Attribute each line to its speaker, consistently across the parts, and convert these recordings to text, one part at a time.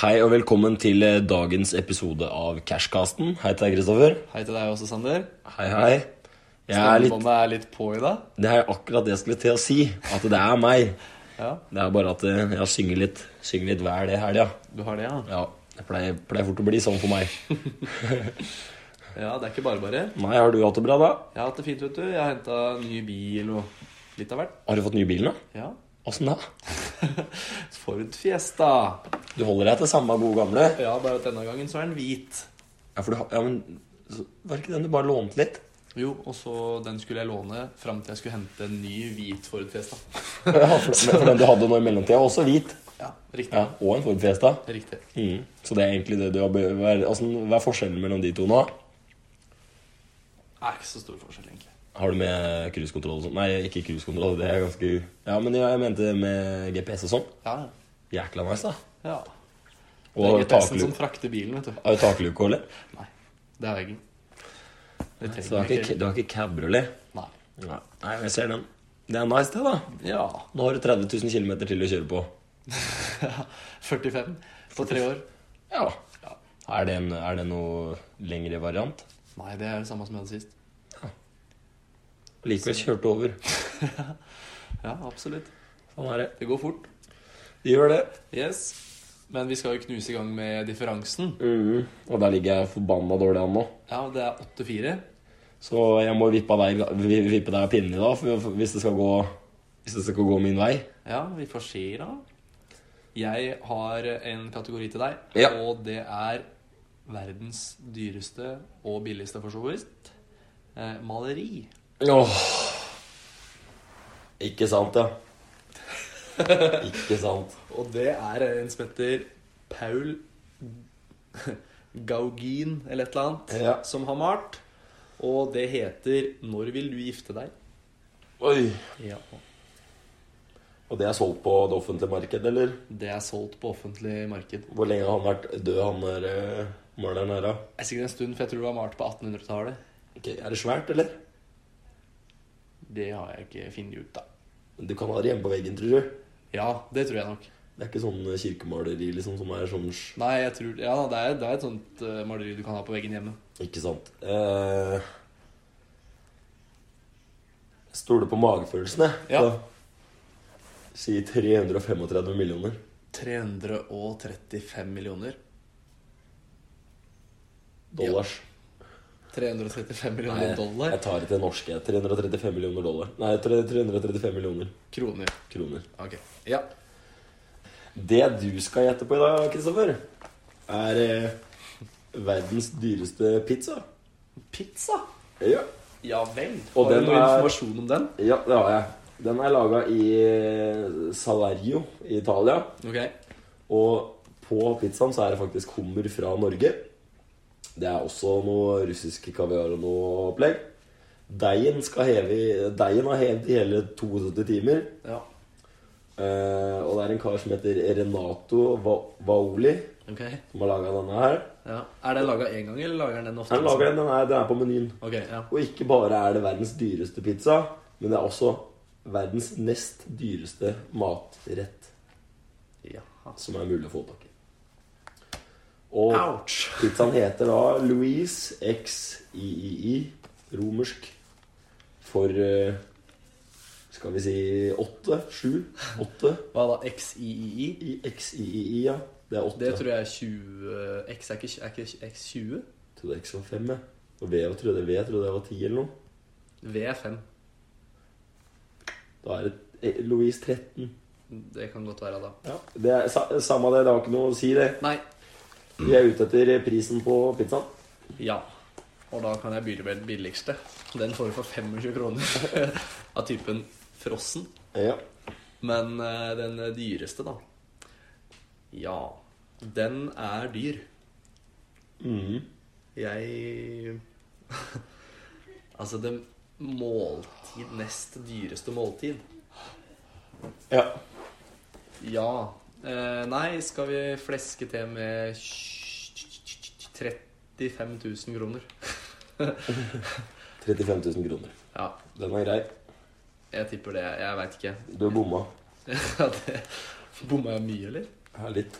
Speaker 1: Hei og velkommen til eh, dagens episode av Cashcasten. Hei til deg, Kristoffer.
Speaker 2: Hei til deg også, Sander.
Speaker 1: Hei, sånn. hei. Jeg er litt,
Speaker 2: Stemmebåndet er litt på i dag.
Speaker 1: det er akkurat det jeg skulle til å si. At det er meg.
Speaker 2: Ja,
Speaker 1: Det er bare at eh, jeg synger litt, synger litt hver det helga.
Speaker 2: du har det, ja.
Speaker 1: Ja, det pleier, pleier fort å bli sånn for meg.
Speaker 2: Ja, det er ikke bare bare.
Speaker 1: Nei, har du hatt det bra, da?
Speaker 2: Jeg har hatt det fint, vet du. Jeg har henta ny bil og litt av hvert.
Speaker 1: Har du fått ny bil nå?
Speaker 2: Ja.
Speaker 1: Åssen da?
Speaker 2: Ford Fiesta.
Speaker 1: Du holder deg til samme gode gamle?
Speaker 2: Ja, bare at denne gangen så er den hvit.
Speaker 1: Ja, for du, har- ja, men så- Var det ikke den du bare lånte litt?
Speaker 2: Jo, og så den skulle jeg låne fram til jeg skulle hente en ny hvit Ford Fiesta.
Speaker 1: Ja, for, for den du hadde nå i mellomtida, også hvit.
Speaker 2: Ja, riktig.
Speaker 1: Ja, Og en Ford Fiesta.
Speaker 2: Riktig.
Speaker 1: Mm. Så det er egentlig det du har be- hva er- altså, Hva er forskjellen mellom de to nå?
Speaker 2: Det er ikke så stor forskjell, egentlig.
Speaker 1: Har du med cruisekontroll og sånn? Nei, ikke cruisekontroll. Det er ganske Ja, men jeg mente med GPS og sånn.
Speaker 2: Ja,
Speaker 1: Jækla nice, da.
Speaker 2: ja. Det er
Speaker 1: Og
Speaker 2: GPS-en som
Speaker 1: takluk-
Speaker 2: frakter bilen, vet du.
Speaker 1: har du takluke og eller?
Speaker 2: Nei, det har jeg ikke.
Speaker 1: Så du
Speaker 2: Det
Speaker 1: har
Speaker 2: trenger jeg
Speaker 1: ikke,
Speaker 2: ikke.
Speaker 1: du har ikke cabriolet?
Speaker 2: Nei.
Speaker 1: Nei, Nei, jeg ser den. Det er nice, det, da.
Speaker 2: Ja.
Speaker 1: Nå har du 30 000 km til å kjøre på.
Speaker 2: 45 på tre år.
Speaker 1: Ja.
Speaker 2: Ja.
Speaker 1: Er det, en, er det noe lengre variant?
Speaker 2: Nei, det er det samme som jeg hadde sist.
Speaker 1: Likevel kjørt over.
Speaker 2: Ja, absolutt.
Speaker 1: Sånn er det.
Speaker 2: Det går fort.
Speaker 1: De gjør det.
Speaker 2: Yes. Men vi skal jo knuse i gang med differansen.
Speaker 1: Mhm. Og der ligger jeg forbanna dårlig an nå.
Speaker 2: Ja, det er 8-4.
Speaker 1: Så jeg må vippe deg, vi- vippe deg av pinnen i dag for, for, hvis, det skal gå, hvis det skal gå min vei.
Speaker 2: Ja, vi får se, da. Jeg har en kategori til deg,
Speaker 1: Ja.
Speaker 2: og det er verdens dyreste og billigste, for så vidt. Eh, maleri.
Speaker 1: Åh. Ikke sant, ja. Ikke sant.
Speaker 2: Og det er en som heter Paul Gaugin, eller et eller annet,
Speaker 1: Ja.
Speaker 2: som har malt. Og det heter 'Når vil du gifte deg?'
Speaker 1: Oi.
Speaker 2: Ja.
Speaker 1: Og det er solgt på det offentlige markedet, eller?
Speaker 2: Det er solgt på offentlig marked.
Speaker 1: Hvor lenge har han vært død, han der eh, maleren her, da?
Speaker 2: Det er sikkert en stund, for jeg tror det var malt på 1800-tallet.
Speaker 1: Ok, Er det svært, eller?
Speaker 2: Det har jeg ikke funnet ut, da.
Speaker 1: Du kan ha det hjemme på veggen, tror du.
Speaker 2: Ja, det tror jeg nok.
Speaker 1: Det er ikke sånn kirkemaleri liksom, som er sånn sj-
Speaker 2: Nei, jeg tror Ja, det er, det er et sånt eh, maleri du kan ha på veggen hjemme.
Speaker 1: Ikke sant. Eh, jeg stoler på magefølelsen, jeg.
Speaker 2: Ja.
Speaker 1: Så, Si 335 millioner.
Speaker 2: 335 millioner.
Speaker 1: Dollars.
Speaker 2: 335
Speaker 1: Nei,
Speaker 2: millioner dollar.
Speaker 1: Jeg tar det til norske. 335 millioner dollar. Nei, tre- 335 millioner
Speaker 2: Kroner.
Speaker 1: kroner.
Speaker 2: Ok. Ja.
Speaker 1: Det du skal gjette på i dag, Kristoffer, er eh, verdens dyreste pizza.
Speaker 2: Pizza?
Speaker 1: Ja.
Speaker 2: Ja vel.
Speaker 1: Og
Speaker 2: har
Speaker 1: den
Speaker 2: du noe
Speaker 1: er-
Speaker 2: informasjon om den?
Speaker 1: ja, det har jeg. Den er laga i eh, Salario i Italia.
Speaker 2: Ok.
Speaker 1: Og på pizzaen så er det faktisk hummer fra Norge. Det er også noe russisk kaviar og noe opplegg. Deigen, skal heve, i- deigen har hevet i hele 72 timer.
Speaker 2: Ja.
Speaker 1: Eh, og det er en kar som heter Renato Va- Vaoli
Speaker 2: Ok.
Speaker 1: som har laga denne her.
Speaker 2: Ja. Er den laga én gang, eller lager den den ofte?
Speaker 1: Han lager den, den er, den er på menyen.
Speaker 2: Ok, ja.
Speaker 1: Og ikke bare er det verdens dyreste pizza, men det er også verdens nest dyreste matrett
Speaker 2: Jaha.
Speaker 1: som er mulig å få tak i. Og
Speaker 2: Ouch!
Speaker 1: Pizzaen heter da Louise XIII, romersk, for eh, Skal vi si åtte? Sju? Åtte?
Speaker 2: Hva da? XIII?
Speaker 1: I XIII, ja. Det er åtte.
Speaker 2: Det tror jeg er 20 X er ikke, er ikke X 20?
Speaker 1: Trodde X var fem, jeg. Og V jeg trodde, V jeg trodde jeg var ti eller noe.
Speaker 2: V er 5.
Speaker 1: Da er det eh, Louise 13.
Speaker 2: Det kan godt være, da.
Speaker 1: Ja. Det er, sa, samme det, det har ikke noe å si, det.
Speaker 2: Nei.
Speaker 1: Vi er ute etter eh, prisen på pizzaen.
Speaker 2: Ja. Og da kan jeg begynne med den billigste. Den får du for 25 kroner av typen frossen.
Speaker 1: Ja.
Speaker 2: Men eh, den dyreste, da Ja. Den er dyr.
Speaker 1: Mhm.
Speaker 2: Jeg Altså, det måltid Nest dyreste måltid.
Speaker 1: ja.
Speaker 2: Ja. Eh, nei, skal vi fleske til med 35 000 kroner?
Speaker 1: 35 000 kroner.
Speaker 2: Ja,
Speaker 1: Den er grei.
Speaker 2: jeg tipper det. Jeg veit ikke.
Speaker 1: Du har bomma.
Speaker 2: Ja, det- Bomma jeg mye, eller?
Speaker 1: Ja, litt.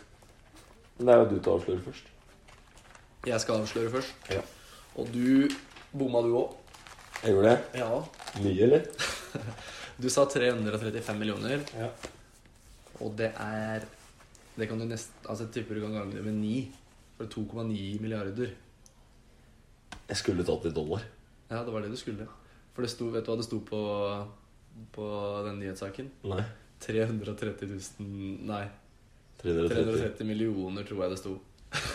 Speaker 1: Men det er jo du til å avsløre først.
Speaker 2: Jeg skal avsløre først.
Speaker 1: Ja.
Speaker 2: Og du bomma, du òg.
Speaker 1: Jeg gjorde det.
Speaker 2: Ja.
Speaker 1: Mye, eller?
Speaker 2: Du sa 335 millioner,
Speaker 1: Ja.
Speaker 2: og det er Det kan du nest, Altså, jeg tipper du kan gange det med 9. For det er 2,9 milliarder.
Speaker 1: Jeg skulle tatt det i dollar.
Speaker 2: Ja, det var det du skulle. For det sto, vet du hva det sto på, på den nyhetssaken?
Speaker 1: Nei.
Speaker 2: 330 000 Nei,
Speaker 1: 330.
Speaker 2: 330 millioner, tror jeg det sto.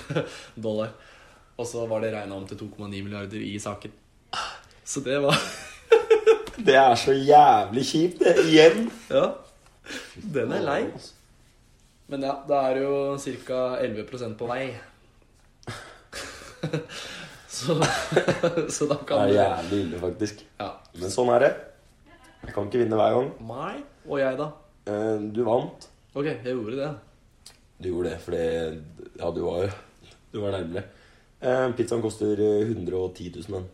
Speaker 2: Dollar. Og så var det regna om til 2,9 milliarder i saken. Så det var
Speaker 1: Det er så jævlig kjipt, det. Igjen.
Speaker 2: Ja. Den er lei. Men ja, da er det jo ca. 11 på vei. så, så da
Speaker 1: Det
Speaker 2: kan
Speaker 1: er
Speaker 2: du
Speaker 1: jævlig ille, faktisk.
Speaker 2: Ja.
Speaker 1: Men sånn er det. Jeg kan ikke vinne hver gang.
Speaker 2: Meg og jeg, da.
Speaker 1: Eh, Du vant.
Speaker 2: Ok, jeg gjorde det.
Speaker 1: Du gjorde det fordi Ja, du var, du var nærmere. Eh, Pizzaen koster eh, 110 000, men.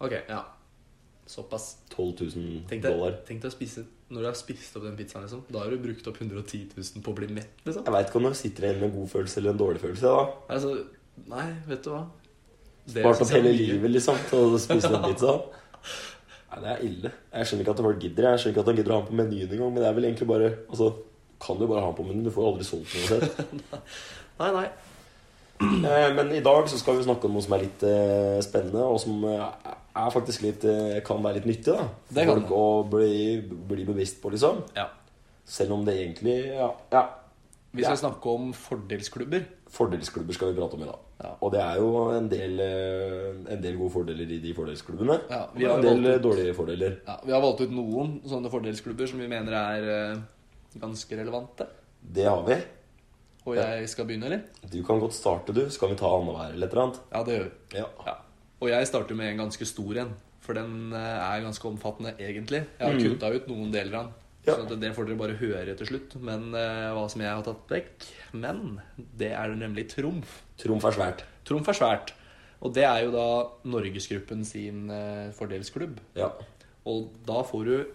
Speaker 2: Ok, ja. Såpass.
Speaker 1: 12 000
Speaker 2: Tenk deg,
Speaker 1: dollar.
Speaker 2: tenk deg å spise Når du har spist opp den pizzaen, liksom, da har du brukt opp 110 000 på å bli mett, liksom.
Speaker 1: Jeg veit ikke om du sitter igjen med en god følelse eller en dårlig følelse. da
Speaker 2: Altså, nei, vet du hva? Det
Speaker 1: Spart
Speaker 2: synes
Speaker 1: opp
Speaker 2: jeg er
Speaker 1: hele
Speaker 2: mye.
Speaker 1: livet liksom til å spise den pizzaen. Nei, det er ille. Jeg skjønner ikke at folk gidder Jeg skjønner ikke at de gidder å ha den på menyen engang. Men det er vel egentlig bare Altså, kan du bare ha den på menyen? Du får aldri solgt den uansett.
Speaker 2: Nei, nei.
Speaker 1: Eh, Men i dag så skal vi snakke om noe som er litt eh, spennende, og som eh, er faktisk litt eh, kan være litt nyttig. da
Speaker 2: Det kan
Speaker 1: Folk å bli, bli bevisst på, liksom.
Speaker 2: Ja.
Speaker 1: Selv om det egentlig Ja. ja
Speaker 2: Vi skal
Speaker 1: Ja.
Speaker 2: snakke om fordelsklubber.
Speaker 1: Fordelsklubber skal vi prate om i dag.
Speaker 2: Ja.
Speaker 1: Og det er jo en del, eh, en del gode fordeler i de fordelsklubbene.
Speaker 2: Ja, vi
Speaker 1: vi
Speaker 2: har
Speaker 1: har en del
Speaker 2: valgt
Speaker 1: eh, dårlige fordeler.
Speaker 2: Ja, vi har valgt ut noen sånne fordelsklubber som vi mener er eh, ganske relevante.
Speaker 1: Det har vi.
Speaker 2: Og jeg skal begynne, eller?
Speaker 1: Du kan godt starte, du. Skal vi ta annenhver eller et eller annet?
Speaker 2: Ja, det gjør vi.
Speaker 1: Ja.
Speaker 2: Ja. Og jeg starter med en ganske stor en, for den eh, er ganske omfattende, egentlig. Jeg har kutta ut noen deler av den,
Speaker 1: Ja.
Speaker 2: så det får dere bare høre til slutt. Men eh, hva som jeg har tatt vekk. Men det er nemlig Trumf.
Speaker 1: Trumf er svært.
Speaker 2: Trumf er svært. Og det er jo da Norgesgruppen sin eh, fordelsklubb.
Speaker 1: Ja.
Speaker 2: Og da får du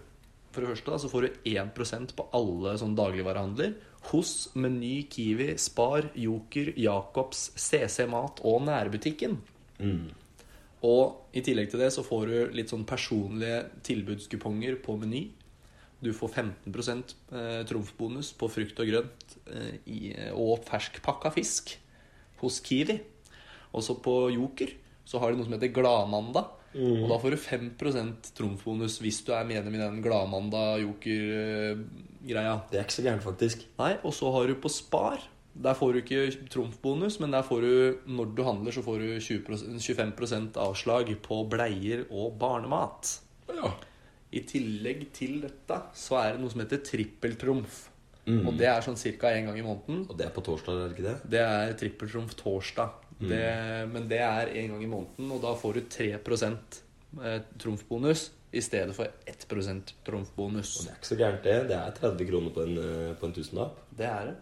Speaker 2: For det første da, så får du 1 på alle sånne dagligvarehandler. Hos Meny, Kiwi, Spar, Joker, Jacobs, CC Mat og nærbutikken. Og i tillegg til det så får du litt sånn personlige tilbudskuponger på Meny. Du får 15 eh, trumfbonus på frukt og grønt eh, i, og ferskpakka fisk hos Kiwi. Også på Joker så har de noe som heter Gladmandag. Og da får du 5 trumfbonus hvis du er medlem i den Gladmandag-Joker-greia.
Speaker 1: Det er ikke så gærent, faktisk.
Speaker 2: Nei, og så har du på Spar. Der får du ikke trumfbonus, men der får du, når du handler, så får du 20%, 25 avslag på bleier og barnemat.
Speaker 1: Ja.
Speaker 2: I tillegg til dette så er det noe som heter trippeltrumf. Og det er sånn ca. én gang i måneden.
Speaker 1: Og det er på torsdag, er det ikke det?
Speaker 2: Det er trippeltrumf torsdag. Det, men det er én gang i måneden, og da får du 3 eh, trumfbonus i stedet for 1 trumfbonus.
Speaker 1: Og det er ikke så gærent, det. Det er 30 kroner på en, eh, på en tusenlapp.
Speaker 2: Det er det.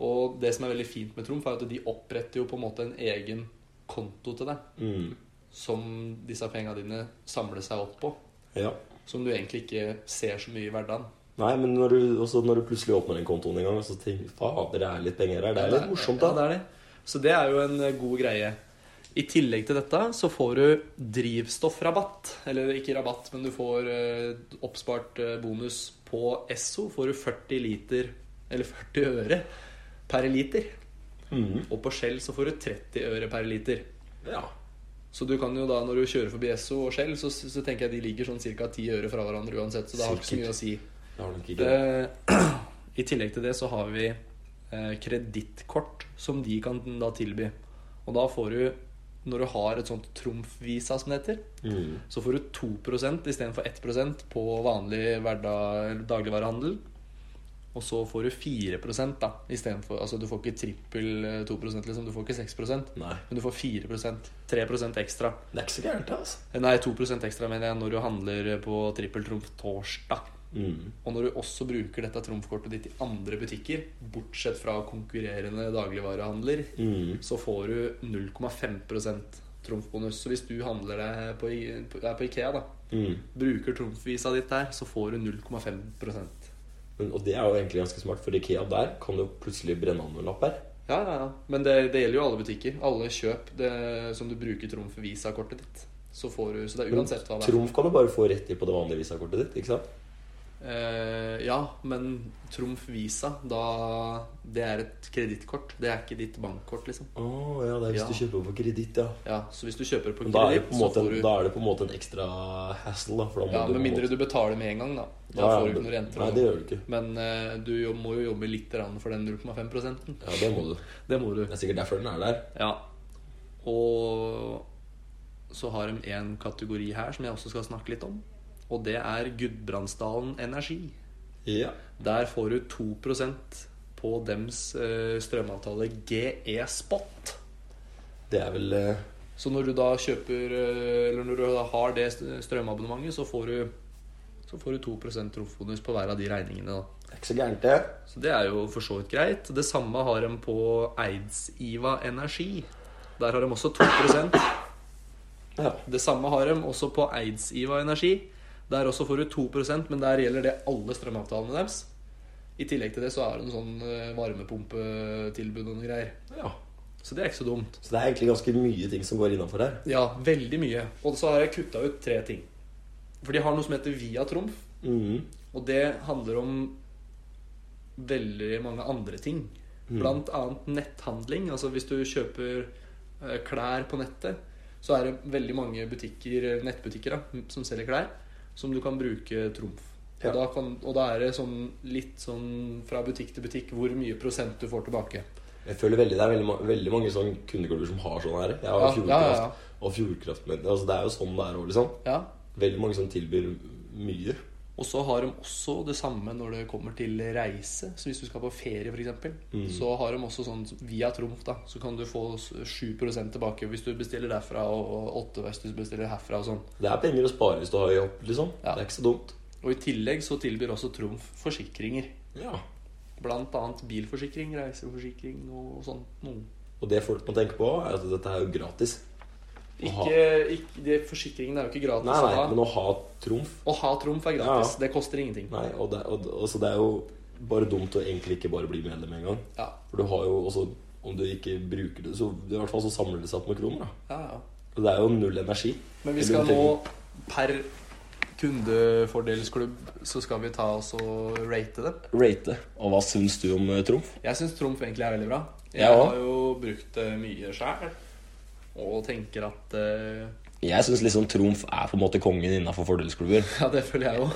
Speaker 2: Og det som er veldig fint med Trumf, er at de oppretter jo på en måte en egen konto til deg.
Speaker 1: Mm.
Speaker 2: Som disse penga dine samler seg opp på.
Speaker 1: Ja.
Speaker 2: Som du egentlig ikke ser så mye i hverdagen.
Speaker 1: Nei, men når du, også når du plutselig åpner den kontoen en gang, så tenker du fader, det er litt penger her. Det er litt morsomt,
Speaker 2: Ja,
Speaker 1: da.
Speaker 2: det er det. Så det er jo en eh, god greie. I tillegg til dette så får du drivstoffrabatt. Eller ikke rabatt, men du får eh, oppspart eh, bonus på Esso. Får du 40 liter, eller 40 øre per liter.
Speaker 1: Mm.
Speaker 2: Og på Shell så får du 30 øre per liter.
Speaker 1: Ja.
Speaker 2: Så du kan jo da, når du kjører forbi Esso og Shell, så, så tenker jeg de ligger sånn ca. 10 øre fra hverandre uansett, så det har ikke så
Speaker 1: Sikkert.
Speaker 2: mye å si.
Speaker 1: Det har nok ikke
Speaker 2: Det, Eh, I tillegg til det så har vi eh, kredittkort som de kan da tilby. Og da får du, når du har et sånt trumfvisa som det heter,
Speaker 1: mm.
Speaker 2: så får du 2 istedenfor 1 på vanlig hverdag, eller dagligvarehandel. Og så får du 4 da, istedenfor Altså du får ikke trippel eh, 2 liksom. Du får ikke 6 men
Speaker 1: Nei.
Speaker 2: du får 4 3 ekstra. Eh,
Speaker 1: Det er ikke så gærent, det, altså.
Speaker 2: Nei, 2 ekstra, mener jeg, når du handler på trippeltrumf torsdag.
Speaker 1: Mm.
Speaker 2: Og når du også bruker dette trumfkortet ditt i andre butikker, bortsett fra konkurrerende dagligvarehandler,
Speaker 1: Mm.
Speaker 2: så får du 0,5 trumfbonus. Så hvis du handler deg på, I- på- er på Ikea, da,
Speaker 1: Mm.
Speaker 2: bruker trumfvisa ditt der, så får du 0,5
Speaker 1: Men, og det er jo egentlig ganske smart, for Ikea der kan du jo plutselig brenne av noen lapper.
Speaker 2: Ja, ja, ja. Men det, det gjelder jo alle butikker. Alle kjøp det, som du bruker Trumf-visakortet ditt. Så får du Så det er
Speaker 1: Men
Speaker 2: uansett hva det er.
Speaker 1: Trumf kan du bare få rett i på det vanlige visakortet ditt. ikke sant?
Speaker 2: Eh, ja, men Trumf-visa, da Det er et kredittkort. Det er ikke ditt bankkort, liksom.
Speaker 1: Å ja, det er hvis
Speaker 2: Ja.
Speaker 1: du kjøper på kreditt, ja.
Speaker 2: Ja, Så hvis du kjøper på
Speaker 1: Men da er, det
Speaker 2: kreditt,
Speaker 1: på en
Speaker 2: så
Speaker 1: måte,
Speaker 2: får du
Speaker 1: da er det på en måte en ekstra hassle, da. For da må
Speaker 2: Ja,
Speaker 1: du på
Speaker 2: Med
Speaker 1: en
Speaker 2: mindre
Speaker 1: måte-
Speaker 2: du betaler med en gang, da. Da
Speaker 1: Ja, ja,
Speaker 2: får du
Speaker 1: men-
Speaker 2: ikke noe renter.
Speaker 1: Nei,
Speaker 2: og
Speaker 1: det
Speaker 2: sånn.
Speaker 1: gjør du ikke.
Speaker 2: Men eh, du jo- må jo jobbe litt grann for den 0,5
Speaker 1: Ja, det må du.
Speaker 2: Det må du.
Speaker 1: Det er sikkert derfor den er der.
Speaker 2: Ja. Og så har de en kategori her som jeg også skal snakke litt om. Og det er Gudbrandsdalen Energi.
Speaker 1: Ja.
Speaker 2: Der får du 2 på dems eh, strømavtale GE Spot.
Speaker 1: Det er vel eh,
Speaker 2: Så når du da kjøper eh, Eller når du da har det st- strømabonnementet, så får du så får du 2 trumfbonus på hver av de regningene. da.
Speaker 1: det er ikke så gærent, det.
Speaker 2: Så det er jo for så vidt greit. Det samme har de på Eidsiva Energi. Der har de også 2
Speaker 1: Ja.
Speaker 2: Det samme har de også på Eidsiva Energi. Der også får du 2 men der gjelder det alle strømavtalene deres. I tillegg til det så er det en sånn eh, varmepumpetilbud og noen greier.
Speaker 1: ja.
Speaker 2: Så det er ikke så dumt.
Speaker 1: Så det er egentlig ganske mye ting som går innafor her.
Speaker 2: Ja, veldig mye. Og så har jeg kutta ut tre ting. For de har noe som heter Via Trumf,
Speaker 1: Mhm.
Speaker 2: og det handler om veldig mange andre ting. Blant annet netthandling. Altså hvis du kjøper eh, klær på nettet, så er det veldig mange butikker, eh, nettbutikker da, som selger klær, som du kan bruke trumf.
Speaker 1: Ja.
Speaker 2: Og, da kan, og da er det sånn, litt sånn fra butikk til butikk hvor mye prosent du får tilbake.
Speaker 1: Jeg føler veldig, Det er veldig, ma- veldig mange sånn kundeklubber som har sånn her. Jeg har
Speaker 2: Ja, ja,
Speaker 1: Fjordkraft
Speaker 2: ja, ja.
Speaker 1: og Fjordkraftmedlem. Altså, det er jo sånn det er òg, liksom.
Speaker 2: ja.
Speaker 1: Veldig mange som tilbyr mye.
Speaker 2: Og så har de også det samme når det kommer til reise. Så hvis du skal på ferie, f.eks.,
Speaker 1: Mm.
Speaker 2: så har de også sånn via Trumf, da. Så kan du få s- 7 tilbake hvis du bestiller derfra, og 8 hvis du bestiller herfra og sånn.
Speaker 1: Det er penger å spare hvis du har jobb, liksom.
Speaker 2: Ja.
Speaker 1: Det er ikke så dumt.
Speaker 2: Og i tillegg så tilbyr også Trumf forsikringer.
Speaker 1: Ja.
Speaker 2: Blant annet bilforsikring, reiseforsikring og sånt noe.
Speaker 1: Og det folk må tenke på, er at dette er jo gratis. Aha.
Speaker 2: Ikke, ikke, det, forsikringen er jo ikke gratis
Speaker 1: Nei, nei,
Speaker 2: å ha.
Speaker 1: men å ha trumf
Speaker 2: Å ha Trumf er gratis.
Speaker 1: Ja.
Speaker 2: Det koster ingenting.
Speaker 1: Nei, og det, og, og, Så det er jo bare dumt å egentlig ikke bare bli medlem med en gang.
Speaker 2: Ja,
Speaker 1: For du har jo også Om du ikke bruker det, så i hvert fall så samler det seg opp med kroner. da.
Speaker 2: ja, ja.
Speaker 1: Og det er jo null energi.
Speaker 2: Men vi
Speaker 1: Eller
Speaker 2: skal
Speaker 1: du
Speaker 2: nå
Speaker 1: trenger-
Speaker 2: per kundefordelsklubb så skal vi ta oss og rate dem.
Speaker 1: Rate. Og hva syns du om eh, trumf?
Speaker 2: Jeg syns Trumf egentlig er veldig bra. Jeg
Speaker 1: Ja.
Speaker 2: har jo brukt det mye sjæl og tenker at eh,
Speaker 1: Jeg syns liksom trumf er på en måte kongen innafor fordelsklubber.
Speaker 2: Ja, det føler jeg jo.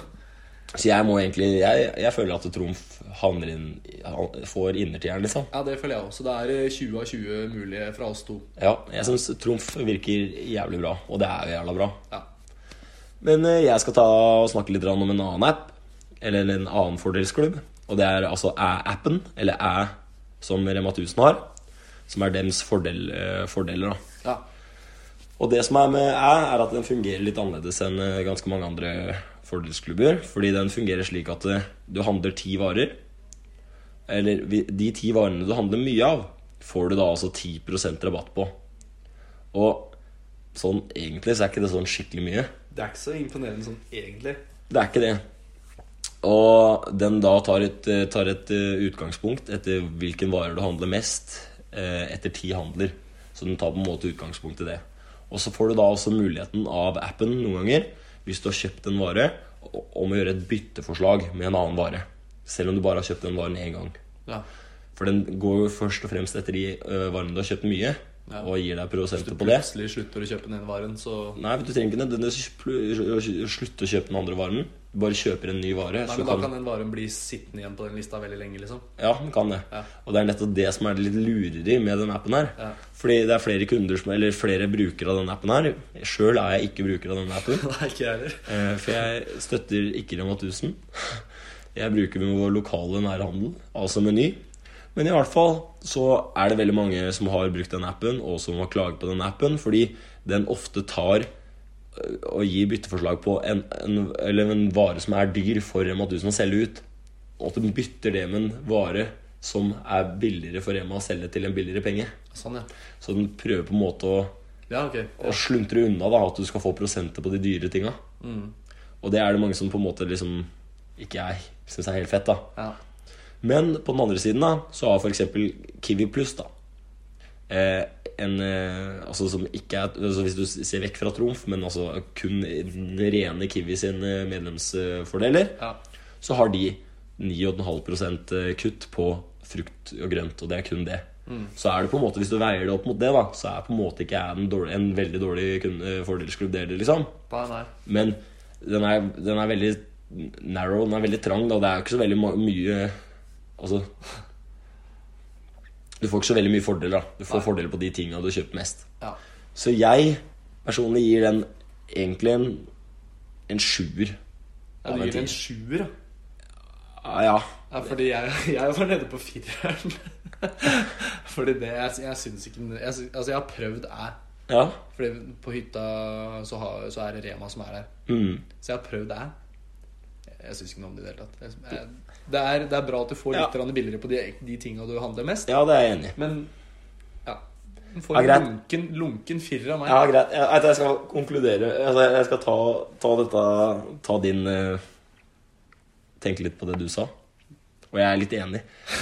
Speaker 1: Så jeg må egentlig Jeg, jeg føler at trumf havner inn han- Får innertieren, liksom.
Speaker 2: Ja, det føler jeg også. Det er eh, 20 av 20 mulige fra oss to.
Speaker 1: Ja, jeg syns trumf virker jævlig bra, og det er jo jævla bra.
Speaker 2: Ja.
Speaker 1: Men eh, jeg skal ta og snakke litt grann om en annen app, eller en annen fordelsklubb. Og det er altså Æ-appen, eller Æ som Rema 1000 har, som er dems fordel, eh, fordeler. da.
Speaker 2: ja.
Speaker 1: Og det som er med Æ, er at den fungerer litt annerledes enn eh, ganske mange andre fordelsklubber. Fordi den fungerer slik at eh, du handler ti varer. Eller vi- de ti varene du handler mye av, får du da altså 10 rabatt på. Og sånn egentlig så er ikke det sånn skikkelig mye.
Speaker 2: Det er ikke så imponerende sånn egentlig.
Speaker 1: Det er ikke det. Og den da tar et, tar et eh, utgangspunkt etter hvilken varer du handler mest eh, etter ti handler. Så den tar på en måte utgangspunkt i det. Og så får du da også muligheten av appen noen ganger, hvis du har kjøpt en vare, o- om å gjøre et bytteforslag med en annen vare. Selv om du bare har kjøpt den varen én gang.
Speaker 2: Ja.
Speaker 1: For den går jo først og fremst etter de eh, varene du har kjøpt mye,
Speaker 2: Ja.
Speaker 1: og gir deg prosenter på det. Mm.
Speaker 2: Plutselig slutter du å kjøpe den ene varen, så
Speaker 1: Nei, du trenger ikke nødvendigvis pl- slutte å kjøpe den andre varen. Du bare kjøper en ny vare.
Speaker 2: Nei,
Speaker 1: så
Speaker 2: men Da
Speaker 1: kan-
Speaker 2: kan den varen bli sittende igjen på den lista veldig lenge, liksom.
Speaker 1: Ja, den kan det.
Speaker 2: Ja.
Speaker 1: Og det er nettopp det som er litt lureri med den appen her.
Speaker 2: Ja.
Speaker 1: Fordi det er flere kunder som, eller flere brukere av den appen her. Sjøl er jeg ikke bruker av den appen.
Speaker 2: Nei, ikke jeg heller.
Speaker 1: eh, For jeg støtter ikke Rema 1000. Jeg bruker vår lokale nærhandel, altså Meny. Men i hvert fall så er det veldig mange som har brukt den appen, og som har klaget på den appen, fordi den ofte tar eh, og gir bytteforslag på en, en, eller en vare som er dyr for Rema 1000 å selge ut. Og at den bytter det med en vare som er billigere for Rema å selge til en billigere penge.
Speaker 2: Sånn, ja.
Speaker 1: Så den prøver på en måte å
Speaker 2: Ja, ok.
Speaker 1: og sluntre unna da, at du skal få prosenter på de dyre tinga. Og det er det mange som på en måte liksom ikke jeg syns er helt fett. da
Speaker 2: Ja.
Speaker 1: Men på den andre siden da, så har f.eks. Kiwi Pluss da, eh, en, eh, altså som ikke er, altså Hvis du ser vekk fra Trumf, men altså kun den rene Kiwi sine medlemsfordeler,
Speaker 2: Ja.
Speaker 1: så har de 9,5 eh, kutt på frukt og grønt, og det er kun det. Så er det på en måte, Hvis du veier det opp mot det, da, så er på en måte ikke jeg en, dårlig, en veldig dårlig kun- fordelsklubb. Det, liksom.
Speaker 2: Nei, nei.
Speaker 1: Men den er, den er veldig narrow, den er veldig trang, da. Det er jo ikke så veldig ma- mye Altså Du får ikke så veldig mye fordeler, da. Du får
Speaker 2: Nei.
Speaker 1: fordeler på de tinga du kjøper mest.
Speaker 2: Ja.
Speaker 1: Så jeg personlig gir den egentlig en, en sjuer.
Speaker 2: Ja,
Speaker 1: Av en
Speaker 2: du gir det
Speaker 1: tier.
Speaker 2: en sjuer, ja.
Speaker 1: Ah, ja.
Speaker 2: Ja, fordi jeg, jeg var nede på fireren. fordi det Jeg, jeg syns ikke den- jeg, sy- Altså, jeg har prøvd æ.
Speaker 1: ja.
Speaker 2: Fordi på hytta så, har, så er det Rema som er her.
Speaker 1: Mm.
Speaker 2: Så jeg har prøvd æ. Jeg syns ikke noe om det i det hele tatt. Jeg, jeg, det, er, det er bra at du får
Speaker 1: Ja.
Speaker 2: litt grann billigere på de, de tinga du handler mest,
Speaker 1: ja, det er jeg enig i.
Speaker 2: men ja. Du får
Speaker 1: Ja,
Speaker 2: en
Speaker 1: greit.
Speaker 2: lunken, lunken firer av meg.
Speaker 1: Ja, greit. Jeg, jeg skal konkludere altså, Jeg skal ta, ta dette Ta din eh, Tenke litt på det du sa. Og jeg er litt enig.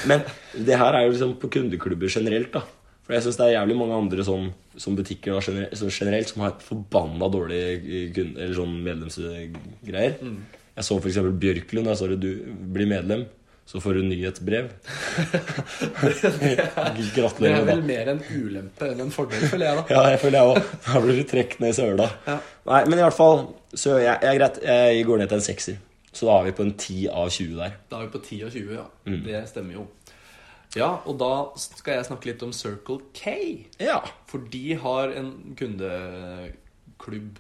Speaker 1: Men det her er jo liksom på kundeklubber generelt. da For jeg syns det er jævlig mange andre sånn, som butikker da, generelt, sånn generelt som har forbanna dårlige kunde, eller sånn medlemsgreier.
Speaker 2: Mm.
Speaker 1: Jeg så f.eks. Bjørklund. Der står det 'du blir medlem'. Så får du nyhetsbrev.
Speaker 2: Det
Speaker 1: Gratulerer
Speaker 2: er
Speaker 1: med
Speaker 2: vel mer en ulempe enn en fordel, føler jeg, da.
Speaker 1: ja, jeg føler jeg òg. Da blir du trukket ned i søla.
Speaker 2: Ja.
Speaker 1: Nei, men i hvert fall Så jeg, jeg, er greit, jeg går ned til en sekser. Så da er vi på en 10 av 20 der.
Speaker 2: Da er vi på 10 og 20, ja. Det stemmer jo. Ja, og da skal jeg snakke litt om Circle K.
Speaker 1: Ja.
Speaker 2: For de har en kundeklubb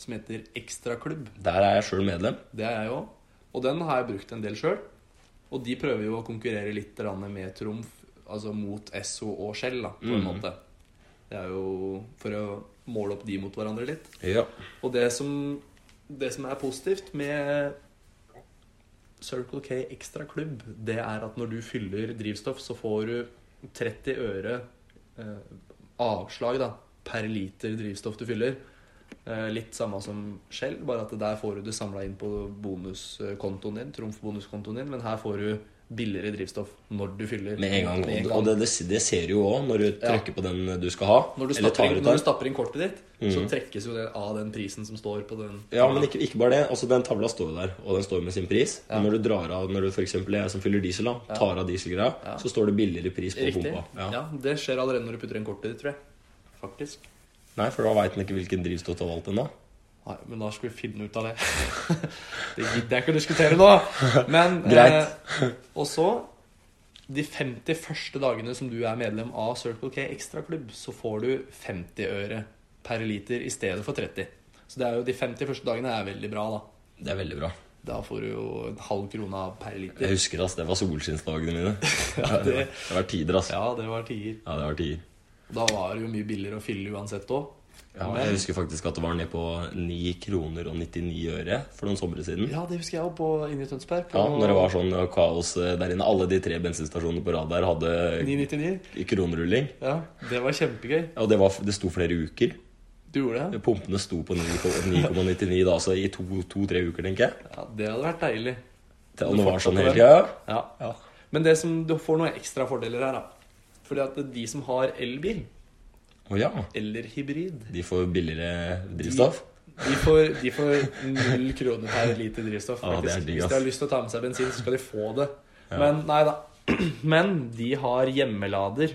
Speaker 2: som heter Ekstraklubb.
Speaker 1: Der er jeg sjøl medlem.
Speaker 2: Det er jeg òg. Og den har jeg brukt en del sjøl. Og de prøver jo å konkurrere litt grann med Trumf, altså mot Esso og Shell, da, på en måte. Det er jo for å måle opp de mot hverandre litt.
Speaker 1: Ja.
Speaker 2: Og det som, det som er positivt med Circle K Extra Klubb, det er at når du fyller drivstoff, så får du 30 øre eh, avslag da, per liter drivstoff du fyller. Eh, litt samme som Shell, bare at der får du det samla inn på bonuskontoen din, trumfbonuskontoen din, men her får du billigere drivstoff når du fyller.
Speaker 1: Med en gang.
Speaker 2: Med en
Speaker 1: Og- Og det, det, det ser du jo òg når du trykker på den du skal ha.
Speaker 2: Når du,
Speaker 1: eller
Speaker 2: stapper
Speaker 1: tar
Speaker 2: inn,
Speaker 1: ut
Speaker 2: når du
Speaker 1: den.
Speaker 2: stapper inn kortet ditt, så trekkes jo det av den prisen som står på den.
Speaker 1: Ja, men ikke, ikke bare det. Altså, Den tavla står jo der, og den står med sin pris. Men Når du drar av, når du f.eks. jeg som fyller diesel, da, tar av dieselgreia, så står det billigere pris på
Speaker 2: Riktig.
Speaker 1: pumpa.
Speaker 2: Ja. Det skjer allerede når du putter inn kortet ditt, tror jeg. Faktisk.
Speaker 1: Nei, for da veit den ikke hvilken drivstoff du har valgt ennå.
Speaker 2: Nei, men da skal vi finne ut av det. det gidder jeg ikke å diskutere nå. Men
Speaker 1: Greit.
Speaker 2: Eh, og så, de 50 første dagene som du er medlem av Circle K Ekstraklubb, så får du 50 øre per liter i stedet for 30. Så det er jo de 50 første dagene er veldig bra, da.
Speaker 1: Det er veldig bra.
Speaker 2: Da får du jo en halv krone av per liter.
Speaker 1: Jeg husker ass, det var solskinnsdagene mine. det...
Speaker 2: det-
Speaker 1: var tider, ass. Ja.
Speaker 2: Ja, det var tier.
Speaker 1: det var tider.
Speaker 2: Da var det jo mye billigere å fylle uansett òg.
Speaker 1: Ja, jeg husker faktisk at det var ned på 9 kroner og 99 øre for noen somre siden. Ja.
Speaker 2: Ja, det husker jeg òg, inne i Tønsberg. på
Speaker 1: når det var sånn kaos eh, der inne. Alle de tre bensinstasjonene på rad der hadde
Speaker 2: 999.
Speaker 1: kronerulling.
Speaker 2: Ja, det var kjempegøy.
Speaker 1: Og det, var, det sto flere uker.
Speaker 2: Du gjorde det?
Speaker 1: Pumpene sto på 9,99 da, så i to- to-tre uker, tenker jeg.
Speaker 2: Ja, Det hadde vært deilig.
Speaker 1: Til- Og det var sånn hele
Speaker 2: fortsatte
Speaker 1: tida.
Speaker 2: Ja.
Speaker 1: Ja.
Speaker 2: Men det som, du får noen ekstra fordeler her, da. Fordi at de som har elbil
Speaker 1: Å ja.
Speaker 2: eller hybrid,
Speaker 1: De får billigere drivstoff.
Speaker 2: de får, de får null kroner per liter drivstoff.
Speaker 1: Ja, det er
Speaker 2: faktisk.
Speaker 1: digg,
Speaker 2: Hvis
Speaker 1: ass.
Speaker 2: de har lyst til å ta med seg bensin, så skal de få det. Men nei da. Men de har hjemmelader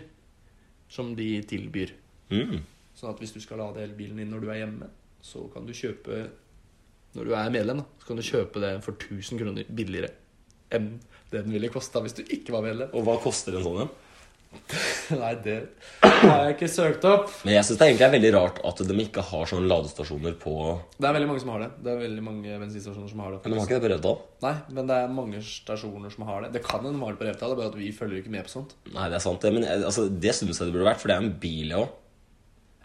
Speaker 2: som de tilbyr.
Speaker 1: Mm.
Speaker 2: Sånn at hvis du skal lade elbilen din når du er hjemme, så kan du kjøpe Når du er medlem, da, så kan du kjøpe det for 1000 kroner billigere enn det den ville kosta hvis du ikke var medlem.
Speaker 1: Og hva koster en sånn en?
Speaker 2: Nei, det har jeg ikke søkt opp.
Speaker 1: Men jeg syns det egentlig er veldig rart at de ikke har sånne ladestasjoner på
Speaker 2: Det er veldig mange som har det. Det er veldig mange bensinstasjoner som har det.
Speaker 1: Men de har ikke det på Røddal?
Speaker 2: Nei, men det er mange stasjoner som har det. Det kan hende de har det på Revtal, det er bare at vi følger ikke med på sånt.
Speaker 1: Nei, det er sant, det. Men eh, altså, det syns jeg det burde vært, for det er en bil, jeg òg.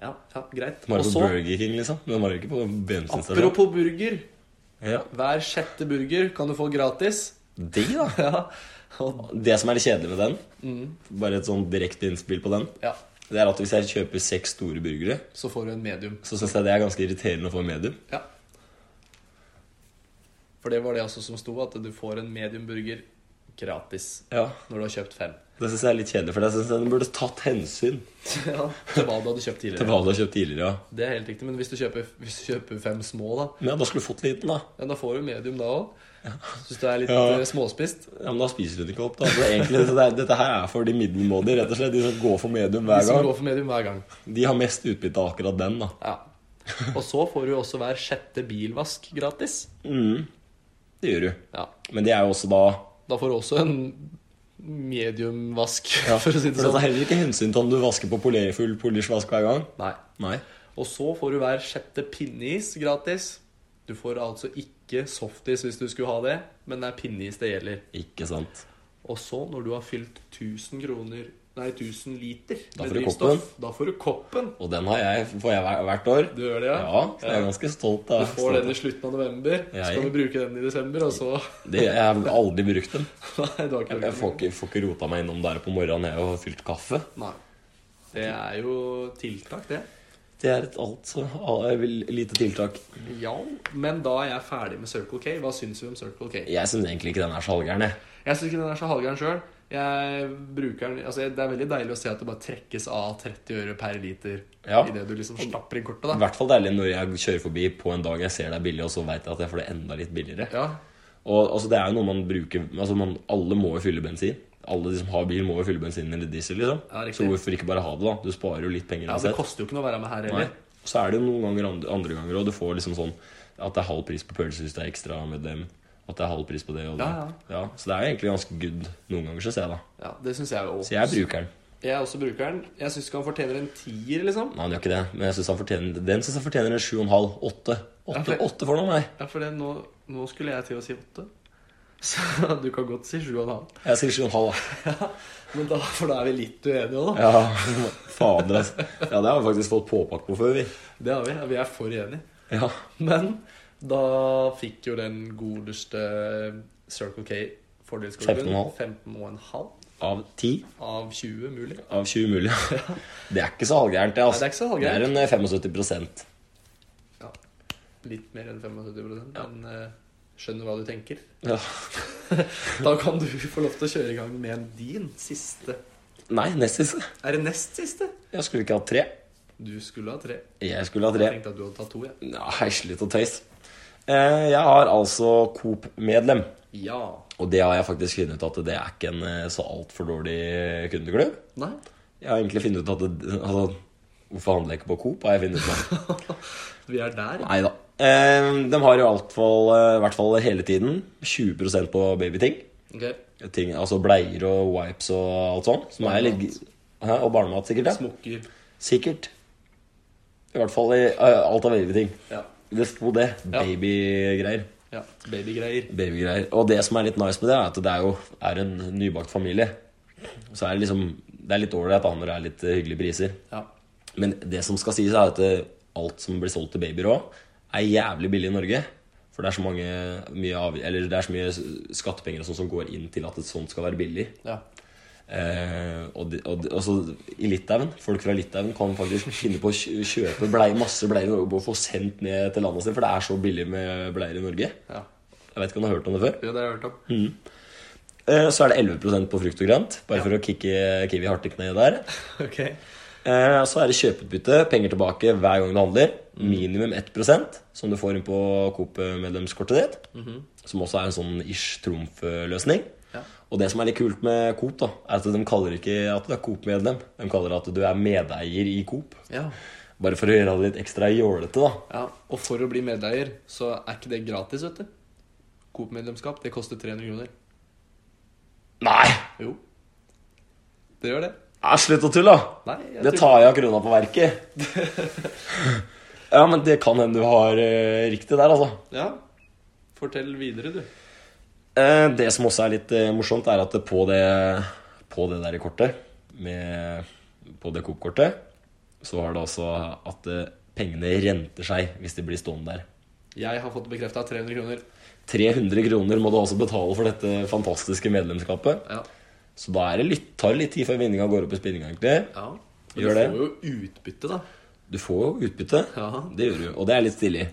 Speaker 2: Ja, ja greit.
Speaker 1: De har det
Speaker 2: Og
Speaker 1: på
Speaker 2: så,
Speaker 1: Burger King, liksom. Men de har det ikke på bensinstasjon.
Speaker 2: apropos burger.
Speaker 1: Ja.
Speaker 2: Hver sjette burger kan du få gratis.
Speaker 1: Digg, da.
Speaker 2: Ja, og,
Speaker 1: Det som er litt kjedelig med den, bare et sånn direkte innspill på den,
Speaker 2: ja
Speaker 1: det er at hvis jeg kjøper seks store burgere,
Speaker 2: så får du en medium.
Speaker 1: så syns jeg det er ganske irriterende å få medium.
Speaker 2: Ja. For det var det altså som sto, at du får en medium burger gratis
Speaker 1: Ja.
Speaker 2: når du har kjøpt fem.
Speaker 1: Det syns jeg er litt kjedelig, for jeg syns den burde tatt hensyn
Speaker 2: Ja, til hva du hadde kjøpt
Speaker 1: til
Speaker 2: tidligere.
Speaker 1: hva du har kjøpt tidligere. Ja.
Speaker 2: Det er helt riktig, men hvis du kjøper, hvis du kjøper fem små, da,
Speaker 1: Men ja, da skulle du fått liten, da.
Speaker 2: ja, da får du medium da òg. Syns du er litt
Speaker 1: Ja.
Speaker 2: eh, småspist?
Speaker 1: Ja, Men da spiser du den ikke opp, da. Så egentlig, så det er, dette her er for de middelmådige, rett og slett. De som går for medium
Speaker 2: De
Speaker 1: hver
Speaker 2: som
Speaker 1: gang.
Speaker 2: går for medium hver gang.
Speaker 1: De har mest utbytte av akkurat den, da.
Speaker 2: Ja. Og så får du også hver sjette bilvask gratis.
Speaker 1: Mm. Det gjør du.
Speaker 2: Ja.
Speaker 1: Men det er jo også da
Speaker 2: Da får du også en mediumvask, for å si det
Speaker 1: For det
Speaker 2: sånn.
Speaker 1: tar heller ikke hensyn til om du vasker på poler, full polisjvask hver gang.
Speaker 2: Nei.
Speaker 1: Nei.
Speaker 2: Og så får du hver sjette pinneis gratis. Du får altså ikke softis hvis du skulle ha det, men det er pinneis det gjelder.
Speaker 1: Ikke sant.
Speaker 2: Og så, når du har fylt 1000 kroner Nei, 1000 liter
Speaker 1: Da får
Speaker 2: med
Speaker 1: du
Speaker 2: drivstoff, da får du koppen.
Speaker 1: Og den har jeg, får jeg hver- hvert år.
Speaker 2: Du gjør det, ja? Eh,
Speaker 1: Ja, så jeg er ganske stolt av
Speaker 2: Du får den i slutten av november, så
Speaker 1: Jeg-
Speaker 2: kan du bruke den i desember, og så
Speaker 1: det, Jeg har aldri brukt den.
Speaker 2: Nei, du har ikke
Speaker 1: Jeg får ikke, får ikke rota meg innom der på morgenen jeg har fylt kaffe.
Speaker 2: Nei. Det er jo tiltak, det.
Speaker 1: Det er et altså lite tiltak.
Speaker 2: Ja, men da er jeg ferdig med Circle K. Hva syns vi om Circle K?
Speaker 1: Jeg syns egentlig ikke den er så halvgæren, jeg.
Speaker 2: Jeg syns ikke den er så halvgæren sjøl. Jeg bruker den Altså, det er veldig deilig å se at det bare trekkes av 30 øre per liter
Speaker 1: Ja.
Speaker 2: idet du liksom slapper inn kortet,
Speaker 1: I
Speaker 2: da.
Speaker 1: hvert fall deilig når jeg kjører forbi på en dag jeg ser det er billig, og så veit jeg at jeg får det enda litt billigere.
Speaker 2: Ja.
Speaker 1: Og altså, det er jo noe man bruker Altså, man, Alle må jo fylle bensin. Alle de som har bil, må jo fylle bensin eller diesel. liksom
Speaker 2: Ja, riktig.
Speaker 1: Så hvorfor ikke bare ha det, da? Du sparer jo litt penger
Speaker 2: ja, Det
Speaker 1: uansett.
Speaker 2: koster jo ikke noe å være med her
Speaker 1: Nei.
Speaker 2: heller.
Speaker 1: Så er det jo noen ganger andre, andre ganger Og du får liksom sånn at det er halv pris på pølser hvis det er ekstra med dem. At det er halv pris på det og det.
Speaker 2: Ja,
Speaker 1: Ja, så det er jo egentlig ganske good noen ganger, syns jeg, da.
Speaker 2: Ja, Det syns jeg jo.
Speaker 1: Så jeg bruker den.
Speaker 2: Jeg er også brukeren. Jeg syns ikke han fortjener en tier, liksom.
Speaker 1: Nei, han gjør ikke det, men jeg synes han fortjener den syns jeg fortjener en 7,5. 8.
Speaker 2: Ja,
Speaker 1: 8,
Speaker 2: for-
Speaker 1: 8 for noe, nei.
Speaker 2: Ja, for det, nå, nå skulle jeg til å si åtte. Så du kan godt si sju og en halv.
Speaker 1: Jeg sier 7,5, da.
Speaker 2: Men da, for da er vi litt uenige òg, da.
Speaker 1: Ja, fader, altså. Ja, det har vi faktisk fått påpakk på før, vi.
Speaker 2: Det har vi. Vi er for enige.
Speaker 1: Ja.
Speaker 2: Men da fikk jo den godeste Circle K fordelsklubben
Speaker 1: 15,5.
Speaker 2: 15,5
Speaker 1: Av 10
Speaker 2: av 20 mulig.
Speaker 1: av 20 mulige. Det er ikke så halvgærent, det. Altså.
Speaker 2: Nei, det er ikke så halvgærent.
Speaker 1: Det er en eh, 75
Speaker 2: Ja. Litt mer enn 75 men eh, skjønner hva du tenker.
Speaker 1: ja.
Speaker 2: Da kan du få lov til å kjøre i gang med din siste.
Speaker 1: Nei, nest siste.
Speaker 2: Er det nest siste?
Speaker 1: Jeg skulle ikke hatt tre.
Speaker 2: Du skulle ha tre.
Speaker 1: Jeg skulle ha
Speaker 2: Jeg
Speaker 1: tre.
Speaker 2: tenkte at du hadde tatt to, jeg.
Speaker 1: Nei, slutt å tøys. Eh, Jeg har altså Coop-medlem.
Speaker 2: Ja.
Speaker 1: Og det har jeg faktisk funnet ut at det er ikke en eh, så altfor dårlig kundeklubb.
Speaker 2: Nei.
Speaker 1: Jeg har egentlig funnet ut at det, altså, Hvorfor handler jeg ikke på Coop? har jeg funnet ut med.
Speaker 2: Vi er der.
Speaker 1: Nei da. Eh, De har jo i hvert fall, eh, i hvert fall hele tiden 20 på babyting.
Speaker 2: Ok.
Speaker 1: Ting, altså bleier og wipes og alt sånn. Som er litt, hæ, og barnemat, sikkert. Ja.
Speaker 2: Smokker.
Speaker 1: Sikkert. I hvert fall i eh, alt av babyting.
Speaker 2: Ja.
Speaker 1: Det sto det.
Speaker 2: Ja.
Speaker 1: Babygreier.
Speaker 2: ja. Babygreier.
Speaker 1: Babygreier. Og det som er litt nice med det, er at det er jo er en nybakt familie. Så er det liksom Det er litt ålreit da, når det er litt eh, hyggelige priser.
Speaker 2: Ja.
Speaker 1: Men det som skal sies, er at eh, alt som blir solgt til babyer òg, er jævlig billig i Norge. For det er så mange mye av, Eller det er så mye s- skattepenger og sånn som går inn til at et sånt skal være billig.
Speaker 2: ja.
Speaker 1: Eh, og, de, og, de, og så i Litauen Folk fra Litauen kan faktisk finne på å kjø- kjøpe blei, masse bleier i Norge og få sendt ned til landet sitt, for det er så billig med bleier i Norge.
Speaker 2: ja.
Speaker 1: Jeg vet ikke om du har hørt om det før?
Speaker 2: Det har jeg hørt om.
Speaker 1: Eh, Så er det 11 på frukt og grønt, bare for å kicke Kiwi hardt i kneet der.
Speaker 2: Ok.
Speaker 1: Eh, Så er det kjøpeutbytte, penger tilbake hver gang du handler. Minimum 1 som du får inn på Coop-medlemskortet ditt. Som også er en sånn ish trumfløsning.
Speaker 2: Ja.
Speaker 1: Og det som er litt kult med Coop, da, er at de kaller ikke at du er Coop-medlem. De kaller at du er medeier i Coop.
Speaker 2: Ja.
Speaker 1: Bare for å gjøre det litt ekstra jålete, da.
Speaker 2: Ja, og for å bli medeier, så er ikke det gratis, vet du. Coop-medlemskap, det koster 300 kroner.
Speaker 1: Nei!
Speaker 2: Jo. Det gjør det.
Speaker 1: Ja, Slutt å tulle, da!
Speaker 2: Nei, jeg
Speaker 1: Det tar jeg av krona på verket. ja, men det kan hende du har eh, riktig der, altså.
Speaker 2: Ja. Fortell videre, du.
Speaker 1: Eh, det som også er litt eh, morsomt, er at på det, på det der kortet, med, på det Coop-kortet, så har det altså at eh, pengene renter seg hvis de blir stående der.
Speaker 2: Jeg har fått bekrefta 300 kroner.
Speaker 1: 300 kroner må du altså betale for dette fantastiske medlemskapet.
Speaker 2: Ja.
Speaker 1: Så da er det litt, tar det litt tid før vinninga går opp i spinninga, egentlig.
Speaker 2: ja. Men
Speaker 1: Gjør
Speaker 2: du
Speaker 1: det.
Speaker 2: får jo utbytte, da.
Speaker 1: Du får jo utbytte.
Speaker 2: Ja.
Speaker 1: Det gjør du, og det er litt stilig.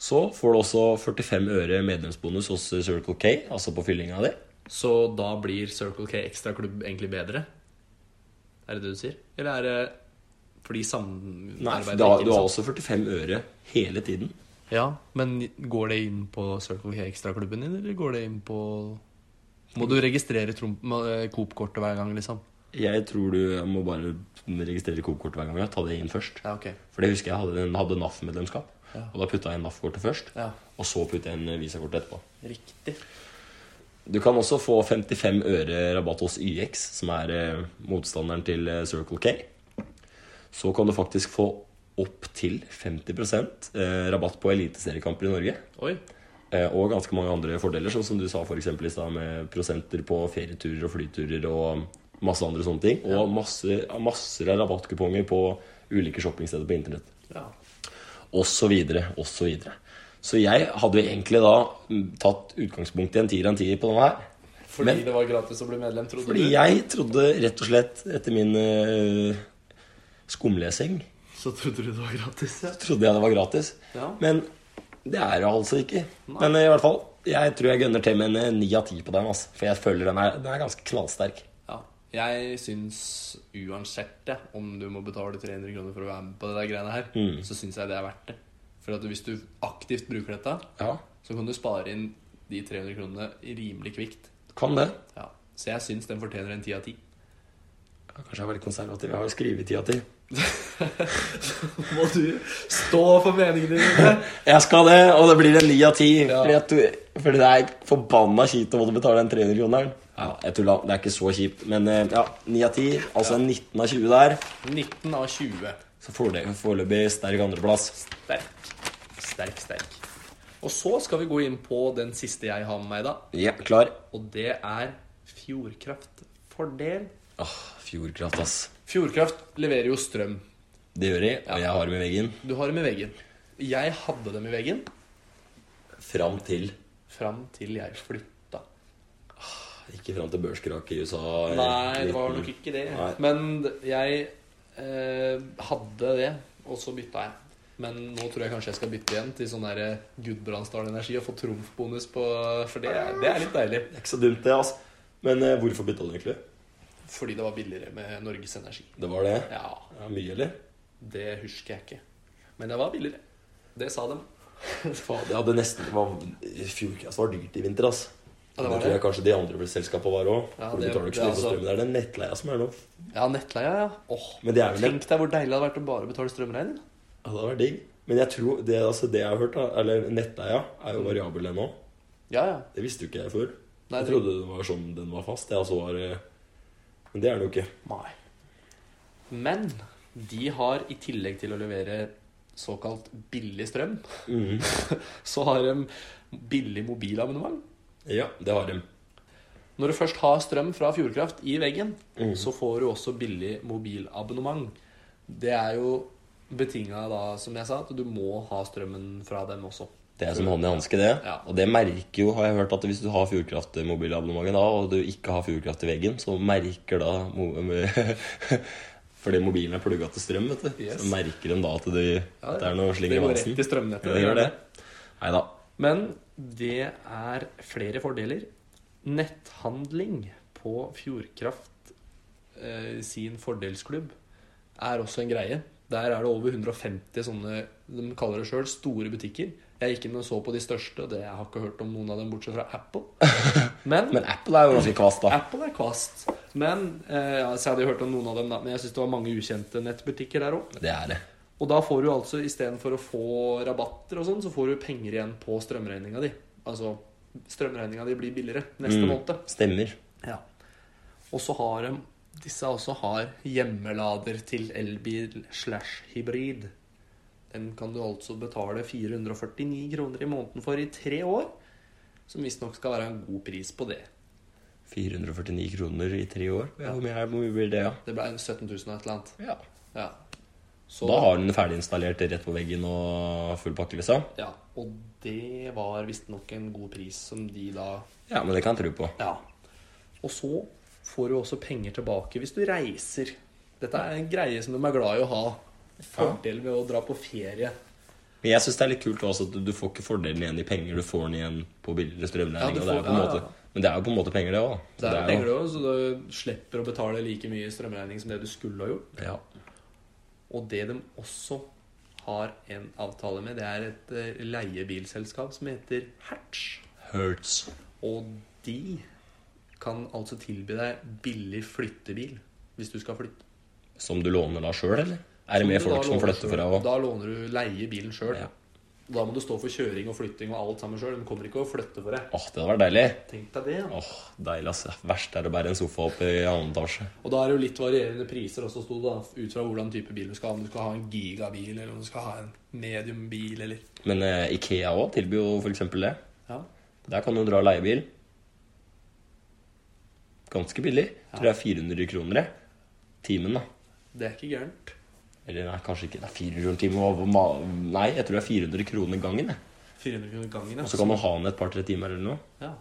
Speaker 1: Så får du også 45 øre medlemsbonus hos Circle K, altså på fyllinga di.
Speaker 2: Så da blir Circle K Extra Klubb egentlig bedre? Er det det du sier? Eller er det fordi
Speaker 1: Nei,
Speaker 2: samarbeidet
Speaker 1: da,
Speaker 2: ikke
Speaker 1: du har også 45 øre hele tiden.
Speaker 2: Ja, men går det inn på Circle K Extra-klubben din, eller går det inn på Må du registrere Trom- eh, Coop-kortet hver gang, liksom?
Speaker 1: Jeg tror du jeg må bare registrere Coop-kort hver gang. ja. Ta det inn først.
Speaker 2: Ja, ok.
Speaker 1: For det husker jeg hadde, hadde NAF-medlemskap.
Speaker 2: Ja.
Speaker 1: Og da putta jeg NAF-kortet først,
Speaker 2: Ja,
Speaker 1: og så putta jeg en Visa-kort etterpå.
Speaker 2: Riktig.
Speaker 1: Du kan også få 55 øre rabatt hos YX, som er eh, motstanderen til eh, Circle K. Så kan du faktisk få opptil 50 eh, rabatt på eliteseriekamper i Norge.
Speaker 2: Oi.
Speaker 1: Eh, Og ganske mange andre fordeler, sånn som du sa for eksempel i stad, med prosenter på ferieturer og flyturer og masse andre sånne ting. Og masse, masser av rabattkuponger på ulike shoppingsteder på internett.
Speaker 2: Ja.
Speaker 1: Og så videre, og så videre. Så jeg hadde jo egentlig da mm, tatt utgangspunkt i en tier av en tier på denne her.
Speaker 2: Fordi
Speaker 1: Men-
Speaker 2: det var gratis å bli medlem, trodde
Speaker 1: Fordi
Speaker 2: du?
Speaker 1: jeg trodde rett og slett, etter min eh, skumlesing,
Speaker 2: Så trodde du det var gratis, ja.
Speaker 1: trodde jeg det var gratis.
Speaker 2: Ja.
Speaker 1: Men det er det altså ikke.
Speaker 2: Nei.
Speaker 1: Men eh, i hvert fall, jeg tror jeg gønner til med en eh, 9 av 10 på den. Altså. For jeg føler den er, den er ganske knallsterk.
Speaker 2: ja. Jeg syns uansett det, om du må betale 300 kroner for å være med på det der greiene her,
Speaker 1: Mm.
Speaker 2: så syns jeg det er verdt det. For at hvis du aktivt bruker dette,
Speaker 1: Ja,
Speaker 2: så kan du spare inn de 300 kronene rimelig kvikt.
Speaker 1: kan det.
Speaker 2: Ja. Så jeg syns den fortjener en ti av ti.
Speaker 1: Ja, Kanskje jeg var litt konservativ. Jeg har jo skrevet 10 av 10.
Speaker 2: Må du stå for meningene dine?
Speaker 1: Jeg skal det, og det blir en 9 av 10.
Speaker 2: Ja.
Speaker 1: Fordi, at du, fordi det er forbanna kjipt å måtte betale den 300 kroneren. Ja, jeg tulla. Det er ikke så kjipt. Men eh, ja, 9 av 10. Altså en 19 av 20 der.
Speaker 2: 19 av 20.
Speaker 1: Så får det foreløpig sterk andreplass.
Speaker 2: Sterk. Sterk, sterk. Og så skal vi gå inn på den siste jeg har med meg, da.
Speaker 1: Ja, klar.
Speaker 2: Og det er Fjordkraft fordel.
Speaker 1: Åh, Fjordkraft, ass.
Speaker 2: Fjordkraft leverer jo strøm.
Speaker 1: Det gjør de, og jeg har dem i veggen.
Speaker 2: Du har dem i veggen. Jeg hadde dem i veggen
Speaker 1: Fram til
Speaker 2: fram til jeg flytta.
Speaker 1: Ikke fram til børskrak i USA.
Speaker 2: Nei, det var nok ikke det.
Speaker 1: Nei.
Speaker 2: Men jeg eh, hadde det, og så bytta jeg. Men nå tror jeg kanskje jeg skal bytte igjen til sånn der Gudbrandsdal Energi og få trumfbonus på For det, er- det er litt deilig.
Speaker 1: Det er ikke så dumt, det, ass. Men eh, hvorfor bytta du egentlig?
Speaker 2: Fordi det var billigere med Norges Energi.
Speaker 1: Det var det?
Speaker 2: Ja,
Speaker 1: Ja, Mye, eller?
Speaker 2: det husker jeg ikke. Men det var billigere. Det sa dem.
Speaker 1: Faen, jeg hadde nesten det var, Fjordkraft altså, var dyrt i vinter, ass.
Speaker 2: Ja, det
Speaker 1: det,
Speaker 2: var
Speaker 1: tror
Speaker 2: det.
Speaker 1: jeg kanskje de andre selskapene var òg.
Speaker 2: Ja,
Speaker 1: For du
Speaker 2: det-
Speaker 1: betaler ikke så
Speaker 2: det er
Speaker 1: mye for
Speaker 2: altså-
Speaker 1: strømmen. Det er den nettleia som er nå.
Speaker 2: Ja, nettleia, ja. Åh,
Speaker 1: Men det er vel
Speaker 2: Tenk deg hvor deilig det hadde vært å bare betale strømregning.
Speaker 1: Ja, det var digg. Men jeg tror det, altså, det jeg har hørt, da, eller nettleia, er jo variabel ennå.
Speaker 2: Ja, ja.
Speaker 1: Det visste jo ikke jeg før.
Speaker 2: Mm. Nei,
Speaker 1: jeg
Speaker 2: det-
Speaker 1: trodde den var sånn den var fast. Jeg altså var, eh, men det er den jo ikke.
Speaker 2: Nei. Men de har i tillegg til å levere såkalt billig strøm,
Speaker 1: Mhm.
Speaker 2: Mm. så har de billig mobilabonnement.
Speaker 1: Ja, det har de.
Speaker 2: Når du først har strøm fra Fjordkraft i veggen,
Speaker 1: Mhm.
Speaker 2: så får du også billig mobilabonnement. Det er jo betinga da, som jeg sa, at du må ha strømmen fra dem også.
Speaker 1: Det er som hånd i hanske, det.
Speaker 2: Ja.
Speaker 1: Og det merker jo, har jeg hørt, at hvis du har Fjordkraft-mobilabonnementet da, og du ikke har Fjordkraft i veggen, så merker da mo- Fordi mobilen er plugga til strøm, vet du.
Speaker 2: Yes.
Speaker 1: Så merker de da at det,
Speaker 2: Ja, ja.
Speaker 1: det er noe sling i
Speaker 2: Det går
Speaker 1: halsen.
Speaker 2: rett i strømnettet.
Speaker 1: Ja, det gjør det. Nei da.
Speaker 2: Men det er flere fordeler. Netthandling på Fjordkraft eh, sin fordelsklubb er også en greie. Der er det over 150 sånne de kaller det sjøl store butikker. Jeg gikk inn og så på de største, og det jeg har ikke hørt om noen av dem bortsett fra Apple. Men
Speaker 1: Men Apple er jo ganske kvass, da.
Speaker 2: Apple er kvast. Men eh, altså, Jeg hadde jo hørt om noen av dem, da, men jeg syns det var mange ukjente nettbutikker der òg.
Speaker 1: Det er det.
Speaker 2: Og da får du altså istedenfor å få rabatter og sånn, så får du penger igjen på strømregninga di. Altså strømregninga di blir billigere neste
Speaker 1: Mm.
Speaker 2: måned.
Speaker 1: Stemmer.
Speaker 2: Ja. Og så har de disse også har hjemmelader til elbil slash hybrid. Den kan du altså betale 449 kroner i måneden for i tre år. Som visstnok skal være en god pris på det.
Speaker 1: 449 kroner i tre år. Ja, Hvor mye er- hvor mye blir det, ja?
Speaker 2: Det ble 17 000 og et eller annet.
Speaker 1: ja.
Speaker 2: Ja. Så,
Speaker 1: Da har den det ferdiginstallert rett på veggen og full pakke, liksom?
Speaker 2: ja, og det var visstnok en god pris som de da
Speaker 1: Ja, men det kan jeg tro på.
Speaker 2: Ja. Og så får du også penger tilbake hvis du reiser. Dette er en greie som de er glad i å ha. Fordel ved å dra på ferie.
Speaker 1: Men jeg syns det er litt kult også at du- du får ikke fordelen igjen i penger. Du får den igjen på billigere strømregning.
Speaker 2: Ja,
Speaker 1: og
Speaker 2: du
Speaker 1: det er jo
Speaker 2: får-
Speaker 1: på en
Speaker 2: ja,
Speaker 1: måte-
Speaker 2: ja.
Speaker 1: Men det er jo på en måte penger, det òg.
Speaker 2: Det er penger det også, så du slipper å betale like mye i strømregning som det du skulle ha gjort.
Speaker 1: Ja.
Speaker 2: Og det de også har en avtale med, det er et eh, leiebilselskap som heter Hertz.
Speaker 1: Hurts.
Speaker 2: Og de kan altså tilby deg billig flyttebil hvis du skal flytte.
Speaker 1: Som du låner da sjøl, eller? Er det med
Speaker 2: Så da
Speaker 1: folk som
Speaker 2: låner
Speaker 1: flytter
Speaker 2: selv.
Speaker 1: for deg òg?
Speaker 2: Da låner du leie bilen sjøl.
Speaker 1: Ja.
Speaker 2: Da må du stå for kjøring og flytting og alt sammen sjøl. De kommer ikke og flytter for deg.
Speaker 1: Åh, det hadde vært deilig.
Speaker 2: Tenk deg det. da.
Speaker 1: Åh, deilig, ass. Verst er å bære en sofa opp i annen etasje.
Speaker 2: Og da er det jo litt varierende priser også, sto det, da, ut fra hvordan type bil du skal ha. Om du skal ha en gigabil, eller om du skal ha en mediumbil, eller
Speaker 1: Men eh, Ikea òg tilbyr jo for eksempel det.
Speaker 2: Ja.
Speaker 1: Der kan du dra leiebil. Ganske billig. Tror det er 400 kroner, jeg. Timen, da.
Speaker 2: Det er ikke gærent.
Speaker 1: Eller nei, kanskje ikke. Det er 400 kroner timen. hva- hva ma- Nei, jeg tror det er 400 kroner gangen. jeg.
Speaker 2: 400 kroner gangen,
Speaker 1: Og så kan man ha den et par-tre timer eller noe.
Speaker 2: ja. ja.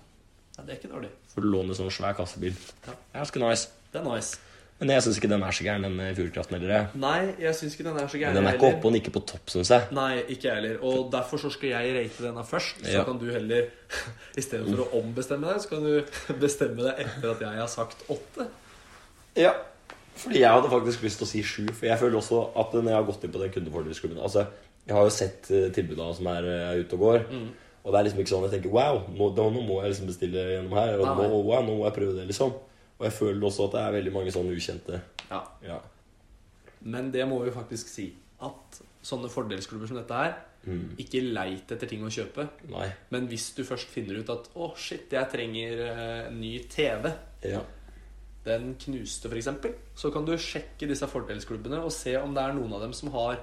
Speaker 2: Det er ikke dårlig.
Speaker 1: For du låner sånn svær kassebil.
Speaker 2: Ja.
Speaker 1: Det er ganske nice.
Speaker 2: Det er nice.
Speaker 1: Men jeg syns ikke den er så gæren, den eh, Fjordkraften heller. jeg.
Speaker 2: Nei, jeg syns ikke den er så
Speaker 1: Men
Speaker 2: gæren.
Speaker 1: Den er ikke oppe
Speaker 2: heller.
Speaker 1: og den er ikke på topp, syns jeg.
Speaker 2: Nei, ikke jeg heller. Og derfor så skal jeg rate denne først. Så
Speaker 1: Ja.
Speaker 2: kan du heller, i stedet for å ombestemme deg, så kan du bestemme deg etter at jeg har sagt åtte.
Speaker 3: Ja. Fordi jeg hadde faktisk lyst til å si sju. For jeg føler også at når jeg har gått inn på den kundefordelsklubben Altså, jeg har jo sett eh, tilbudene som er eh, ute og går.
Speaker 1: Mm.
Speaker 3: Og det er liksom ikke sånn jeg tenker Wow, nå, da- nå må jeg liksom bestille gjennom her. Og
Speaker 2: Nei.
Speaker 3: nå, wow, nå må jeg prøve det, liksom. Og jeg føler også at det er veldig mange sånne ukjente
Speaker 2: Ja.
Speaker 3: Ja.
Speaker 2: Men det må vi faktisk si. At sånne fordelsklubber som dette her, ikke leit etter ting å kjøpe.
Speaker 3: Nei.
Speaker 2: Men hvis du først finner ut at 'Å, shit, jeg trenger eh, ny TV',
Speaker 3: Ja.
Speaker 2: den knuste f.eks., så kan du sjekke disse fordelsklubbene og se om det er noen av dem som har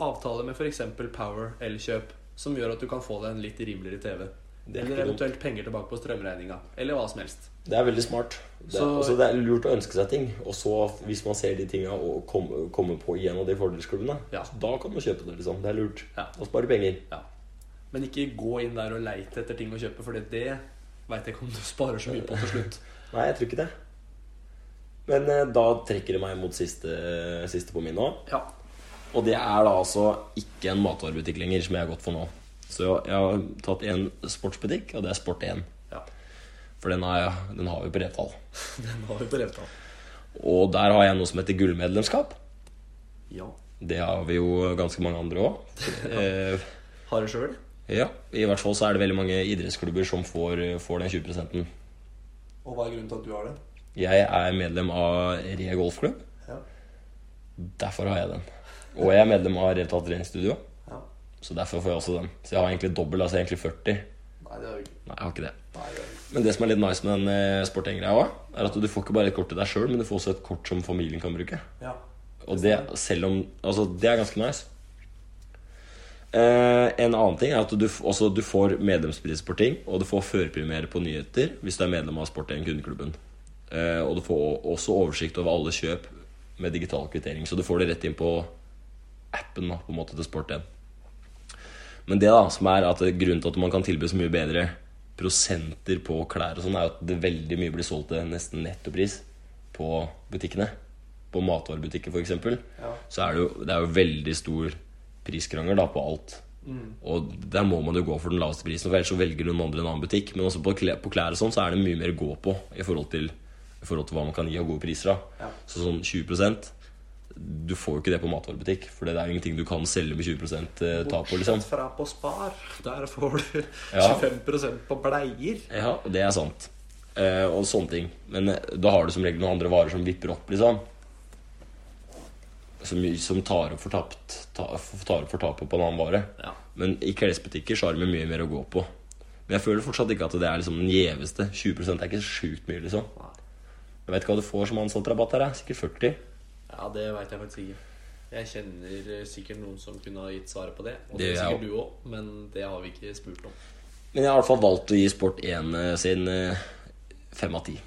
Speaker 2: avtale med f.eks. Power Elkjøp, som gjør at du kan få deg en litt rimeligere TV.
Speaker 3: Det er
Speaker 2: Eller
Speaker 3: ikke dumt.
Speaker 2: eventuelt penger tilbake på strømregninga. Eller hva som helst.
Speaker 3: Det er veldig smart. Det,
Speaker 2: Så-
Speaker 3: altså, det er lurt å ønske seg ting. Og så, hvis man ser de tinga og kommer komme på igjen av de fordelsklubbene,
Speaker 2: Ja.
Speaker 3: så da kan man kjøpe det, liksom. Det er lurt.
Speaker 2: Ja.
Speaker 3: Og spare penger.
Speaker 2: Ja. Men ikke gå inn der og leite etter ting å kjøpe, for det veit jeg ikke om du sparer så mye på til slutt.
Speaker 3: Nei, jeg tror ikke det. Men eh, da trekker det meg mot siste, siste på min nå.
Speaker 2: Ja.
Speaker 1: Og det er da altså ikke en matvarebutikk lenger, som jeg har gått for nå. Så jeg har tatt en sportsbutikk, og det er Sport1.
Speaker 2: ja.
Speaker 1: For den har, jeg, den har vi på Retal.
Speaker 2: Den har vi på revta.
Speaker 1: Og der har jeg noe som heter gullmedlemskap.
Speaker 2: Ja.
Speaker 1: Det har vi jo ganske mange andre òg. Eh,
Speaker 2: Har det sjøl?
Speaker 1: ja, I hvert fall så er det veldig mange idrettsklubber som får, får den 20
Speaker 2: Og hva er grunnen til at du har det?
Speaker 1: Jeg er medlem av Re golfklubb.
Speaker 2: Ja.
Speaker 1: Derfor har jeg den. Og jeg er medlem av Retal treningsstudio,
Speaker 2: ja.
Speaker 1: så derfor får jeg også den. Så jeg har egentlig dobbel, altså egentlig 40.
Speaker 2: Nei, det er jo ikke
Speaker 1: Nei, jeg har ikke det.
Speaker 2: Nei, det er jo ikke.
Speaker 1: Men det som er litt nice med den eh, sportinggreia òg, er at du får ikke bare et kort til deg sjøl, men du får også et kort som familien kan bruke.
Speaker 2: Ja.
Speaker 1: Og det, selv om, altså, det er ganske nice. Eh, en annen ting er at du, f- også, du får medlemspris på ting, og du får førpremiere på nyheter hvis du er medlem av Sport1 kundeklubben. Eh, og du får også oversikt over alle kjøp med digital kvittering, så du får det rett inn på appen da, på en måte til Sport1. Men det da, som er at grunnen til at man kan tilby så mye bedre prosenter på klær og sånn, er jo at det veldig mye blir solgt til nesten nettopris på butikkene. På matvarebutikker, for eksempel
Speaker 2: Ja.
Speaker 1: Så er det, jo, det er jo veldig stor priskrangel da på alt. Og der må man jo gå for den laveste prisen, for ellers så velger noen andre en annen butikk. Men også på klær, på klær og sånn, så er det mye mer å gå på i forhold til, i forhold til hva man kan gi av gode priser. da
Speaker 2: Ja.
Speaker 1: Så sånn 20 du får jo ikke det på matvarebutikk, for det er jo ingenting du kan selge med 20 tap på. liksom
Speaker 2: Bortsett fra på Spar. Der får du
Speaker 1: Ja.
Speaker 2: 25 på bleier.
Speaker 1: Ja, det er sant. Eh, og sånne ting. Men eh, da har du som regel noen andre varer som vipper opp, liksom. Som, som tar opp for tapt ta, Tar opp for tapet på en annen vare.
Speaker 2: Ja.
Speaker 1: Men i klesbutikker så har de mye mer å gå på. Men jeg føler fortsatt ikke at det er liksom den gjeveste. 20 er ikke sjukt mye, liksom. Jeg vet ikke hva du får som ansatt-rabatt her, jeg. sikkert 40.
Speaker 2: ja, det veit jeg faktisk ikke. Jeg kjenner eh, sikkert noen som kunne ha gitt svaret på det. Og det,
Speaker 1: Det
Speaker 2: er
Speaker 1: gjør jeg
Speaker 2: sikkert du òg, men det har vi ikke spurt om.
Speaker 1: Men jeg har i hvert fall valgt å gi Sport1 sin eh, fem av ti.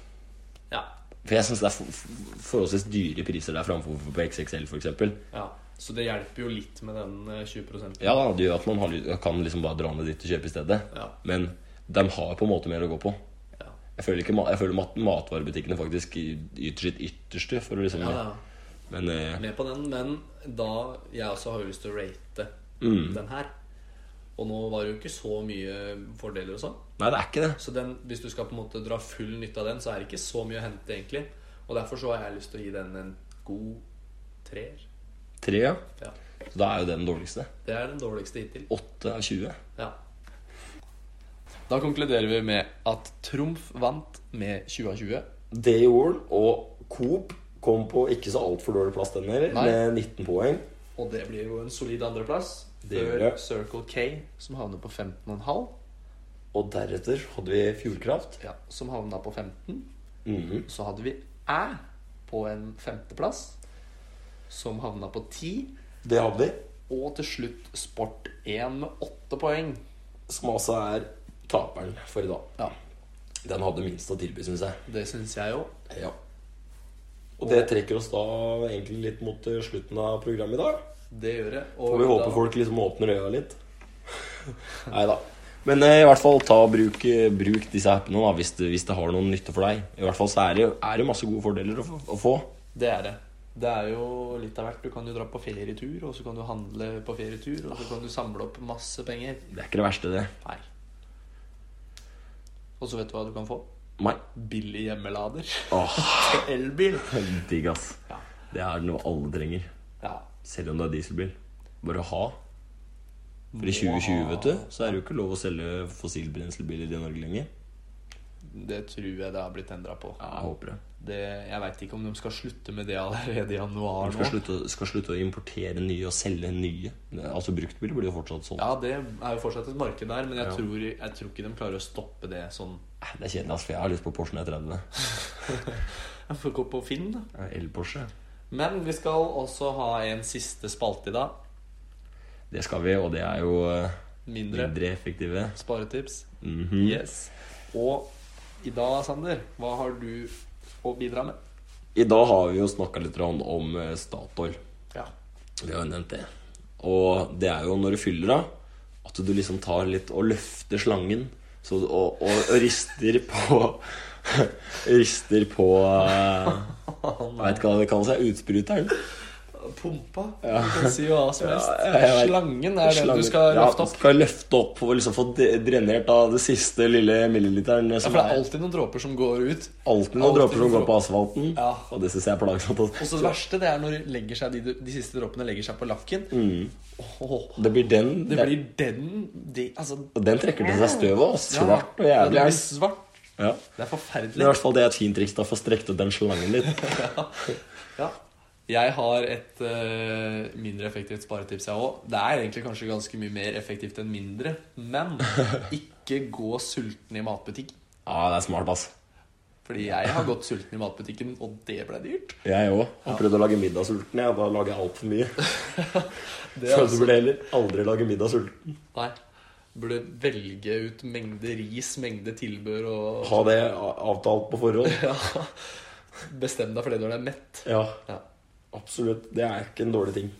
Speaker 2: Ja.
Speaker 1: For jeg syns det er for, for- forholdsvis dyre priser der framfor på XXL, f.eks.
Speaker 2: ja. Så det hjelper jo litt med den eh, 20
Speaker 1: Ja, da, det gjør at man har, ly- kan liksom bare dra ned dit og kjøpe i stedet.
Speaker 2: Ja.
Speaker 1: Men de har på en måte mer å gå på.
Speaker 2: Ja.
Speaker 1: Jeg føler, ikke, ma- jeg føler mat, matvarebutikkene faktisk yter sitt ytterste. For å liksom,
Speaker 2: Ja, ja.
Speaker 1: Men eh, Mm.
Speaker 2: Med på den, men da Jeg også har jo lyst til å rate den her. Og nå var det jo ikke så mye fordeler og sånn.
Speaker 4: Nei, det er ikke det.
Speaker 2: Så den, hvis du skal på en måte dra full nytte av den, så er det ikke så mye å hente, egentlig. Og derfor så har jeg lyst til å gi den en god treer.
Speaker 4: Tre, ja.
Speaker 2: Ja.
Speaker 4: Så da er jo det den dårligste.
Speaker 2: Det er den dårligste hittil.
Speaker 4: Åtte av 20.
Speaker 2: Ja. Da konkluderer vi med at Trumf vant med 20 av 20.
Speaker 1: Det gjorde han, og Coop kom på ikke så altfor dårlig plass den heller,
Speaker 2: Nei.
Speaker 1: med 19 poeng.
Speaker 2: Og det blir jo en solid andreplass.
Speaker 1: Det gjør
Speaker 2: Før
Speaker 1: det.
Speaker 2: Circle K, som havner på 15,5.
Speaker 1: Og deretter hadde vi Fjordkraft.
Speaker 2: Ja, som havna på 15.
Speaker 1: Mhm.
Speaker 2: Så hadde vi Æ på en femteplass, som havna på 10.
Speaker 1: Det hadde vi.
Speaker 2: Og til slutt Sport 1 med 8 poeng.
Speaker 1: Som altså er taperen for i dag.
Speaker 2: Ja,
Speaker 1: Den hadde minst å tilby, syns jeg.
Speaker 2: Det syns jeg jo.
Speaker 1: Ja. Og det trekker oss da egentlig litt mot eh, slutten av programmet i dag.
Speaker 2: Det gjør det. Og
Speaker 1: Får vi håpe
Speaker 2: da-
Speaker 1: folk liksom åpner øya litt. Nei da. Men eh, i hvert fall ta og bruk, eh, bruk disse appene da, hvis det, hvis det har noen nytte for deg. I hvert fall så er det, jo- er det masse gode fordeler å, få- å få.
Speaker 2: Det er det. Det er jo litt av hvert. Du kan jo dra på ferietur, og så kan du handle på ferietur, og så kan du samle opp masse penger.
Speaker 1: Det er ikke det verste, det.
Speaker 2: Nei. Og så vet du hva du kan få?
Speaker 1: Nei.
Speaker 2: Billig hjemmelader.
Speaker 1: Åh,
Speaker 2: Elbil.
Speaker 4: Digg, ass.
Speaker 2: Ja.
Speaker 4: Det er noe alle trenger.
Speaker 2: Ja.
Speaker 4: Selv om det er dieselbil. Bare ha. For i 2020, vet du, så er det jo ikke lov å selge fossilbrenselbiler i Norge lenger.
Speaker 2: Det tror jeg det har blitt endra på.
Speaker 4: Ja, jeg håper det.
Speaker 2: Det, jeg veit ikke om de skal slutte med det allerede i januar
Speaker 4: Man skal
Speaker 2: nå.
Speaker 4: slutte, å- skal slutte å importere nye og selge nye. Altså bruktbiler blir jo fortsatt solgt.
Speaker 2: Ja, det er jo fortsatt et marked der, men jeg,
Speaker 4: Ja.
Speaker 2: tror, jeg tror ikke de klarer å stoppe det sånn.
Speaker 4: Det er kjedelig, ass, for jeg har lyst på Porschen E30.
Speaker 2: Jeg får gå på Finn, da.
Speaker 4: El-Porsche.
Speaker 2: Men vi skal også ha en siste spalte i dag.
Speaker 4: Det skal vi, og det er jo eh,
Speaker 2: Mindre
Speaker 4: mindre effektive.
Speaker 2: sparetips.
Speaker 4: Mhm.
Speaker 2: Yes. Og i dag, Sander, hva har du å bidra med?
Speaker 4: I dag har vi jo snakka litt grann om eh, Statoil.
Speaker 2: Ja.
Speaker 4: Vi har jo nevnt det. Og det er jo når du fyller av, at du liksom tar litt og løfter slangen så, og, og, og rister på Rister på eh, Jeg veit ikke hva det kalles, jeg, utspruteren.
Speaker 2: Pumpa. Du kan si hva som helst.
Speaker 4: Ja, jeg vet.
Speaker 2: Slangen er den
Speaker 4: Slangen.
Speaker 2: du skal
Speaker 4: Ja,
Speaker 2: løfte opp.
Speaker 4: Skal løfte opp for å liksom få de- drenert av det siste lille milliliteren.
Speaker 2: Ja,
Speaker 4: Som
Speaker 2: for det er
Speaker 4: er
Speaker 2: alltid noen dråper som går ut.
Speaker 4: alltid noen
Speaker 2: alltid
Speaker 4: dråper som
Speaker 2: noen
Speaker 4: går på asfalten.
Speaker 2: Ja.
Speaker 4: Og det syns jeg er plagsomt.
Speaker 2: Og så det verste det er når de, legger seg, de, de siste dråpene legger seg på lakken. Åh,
Speaker 4: Mm. Det blir den.
Speaker 2: det blir den de, Altså
Speaker 4: Og den trekker til seg støv òg.
Speaker 2: ja.
Speaker 4: Svart og
Speaker 2: Ja, det
Speaker 4: jævlig.
Speaker 2: blir
Speaker 4: ass.
Speaker 2: svart.
Speaker 4: Ja.
Speaker 2: Det er
Speaker 4: Men i
Speaker 2: forferdelig.
Speaker 4: hvert fall det er et fint triks da, for å strekke ut den slangen litt.
Speaker 2: Ja. Jeg har et eh, mindre effektivt sparetips, jeg òg. Det er egentlig kanskje ganske mye mer effektivt enn mindre, men ikke gå sulten i matbutikk.
Speaker 4: Ja, det er smart, ass.
Speaker 2: Fordi jeg har gått sulten i matbutikken, og det ble dyrt.
Speaker 4: Jeg òg. Har prøvd å lage middag sulten, ja. Da lager jeg altfor mye.
Speaker 2: Det
Speaker 1: Så du burde heller aldri lage middag sulten.
Speaker 2: Nei. Burde velge ut mengde ris, mengde tilbør og
Speaker 1: Ha det a- avtalt på forhånd.
Speaker 2: ja. Bestem deg for det når du er mett.
Speaker 1: Ja,
Speaker 2: Ja.
Speaker 1: absolutt. Det er ikke en dårlig ting.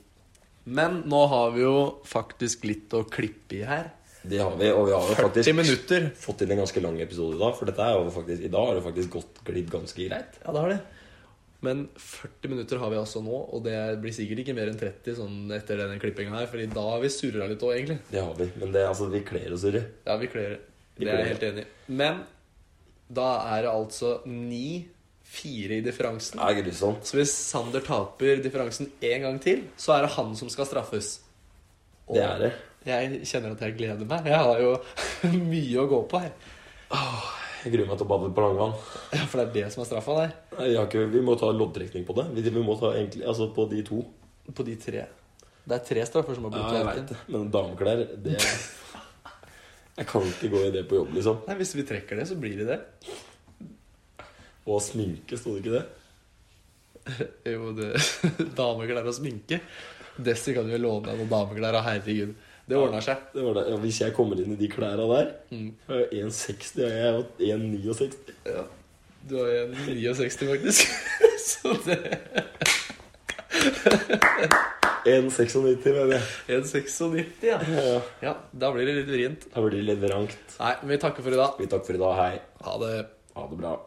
Speaker 2: Men nå har vi jo faktisk litt å klippe i her.
Speaker 1: Det har vi, og vi har jo
Speaker 2: 40
Speaker 1: faktisk
Speaker 2: minutter.
Speaker 1: fått inn en ganske lang episode i dag. For dette er jo faktisk, i dag har det faktisk gått glidd ganske greit.
Speaker 2: Ja, det har det. Men 40 minutter har vi altså nå, og det blir sikkert ikke mer enn 30 sånn etter denne klippinga her, Fordi da har vi surra litt òg, egentlig.
Speaker 1: Det har vi. Men det, altså, vi kler oss i det.
Speaker 2: Ja, vi kler det.
Speaker 1: Vi
Speaker 2: Det er jeg
Speaker 1: kler
Speaker 2: helt enig i. Men da er det altså 9-4 i differansen.
Speaker 1: Det er grusomt.
Speaker 2: Så hvis Sander taper differansen én gang til, så er det han som skal straffes. Og
Speaker 1: Det er det.
Speaker 2: Jeg kjenner at jeg gleder meg. Jeg har jo mye å gå på her.
Speaker 1: Jeg gruer meg til å bade på langvann.
Speaker 2: Ja, For det er det som er straffa der.
Speaker 1: Nei, Vi, har ikke, vi må ta loddtrekning på det. Vi, vi må ta egentlig, altså på de to.
Speaker 2: På de tre. Det er tre straffer som har blitt
Speaker 1: jeg
Speaker 2: valgt
Speaker 1: vet
Speaker 2: inn.
Speaker 1: det. Men dameklær, det Jeg kan ikke gå i det på jobb, liksom.
Speaker 2: Nei, Hvis vi trekker det, så blir det det.
Speaker 1: Og sminke, sto det ikke det?
Speaker 2: Jo, det Dameklær og sminke. Desi kan jo låne deg noen dameklær. og Herregud. Det ordner seg. Mm.
Speaker 1: Det var det. Ja, hvis jeg kommer inn i de klærne der jeg er 1,60 og jeg er jo 1,69.
Speaker 2: Ja. Du har jo en 69, faktisk. Så det
Speaker 1: 1,96, mener jeg.
Speaker 2: En 96, ja.
Speaker 1: Ja.
Speaker 2: ja. Da blir det litt vrient.
Speaker 1: Da blir det litt vrangt.
Speaker 2: Nei, men vi takker for i dag.
Speaker 1: Vi takker for i dag. Hei.
Speaker 2: Ha det.
Speaker 1: Ha det bra.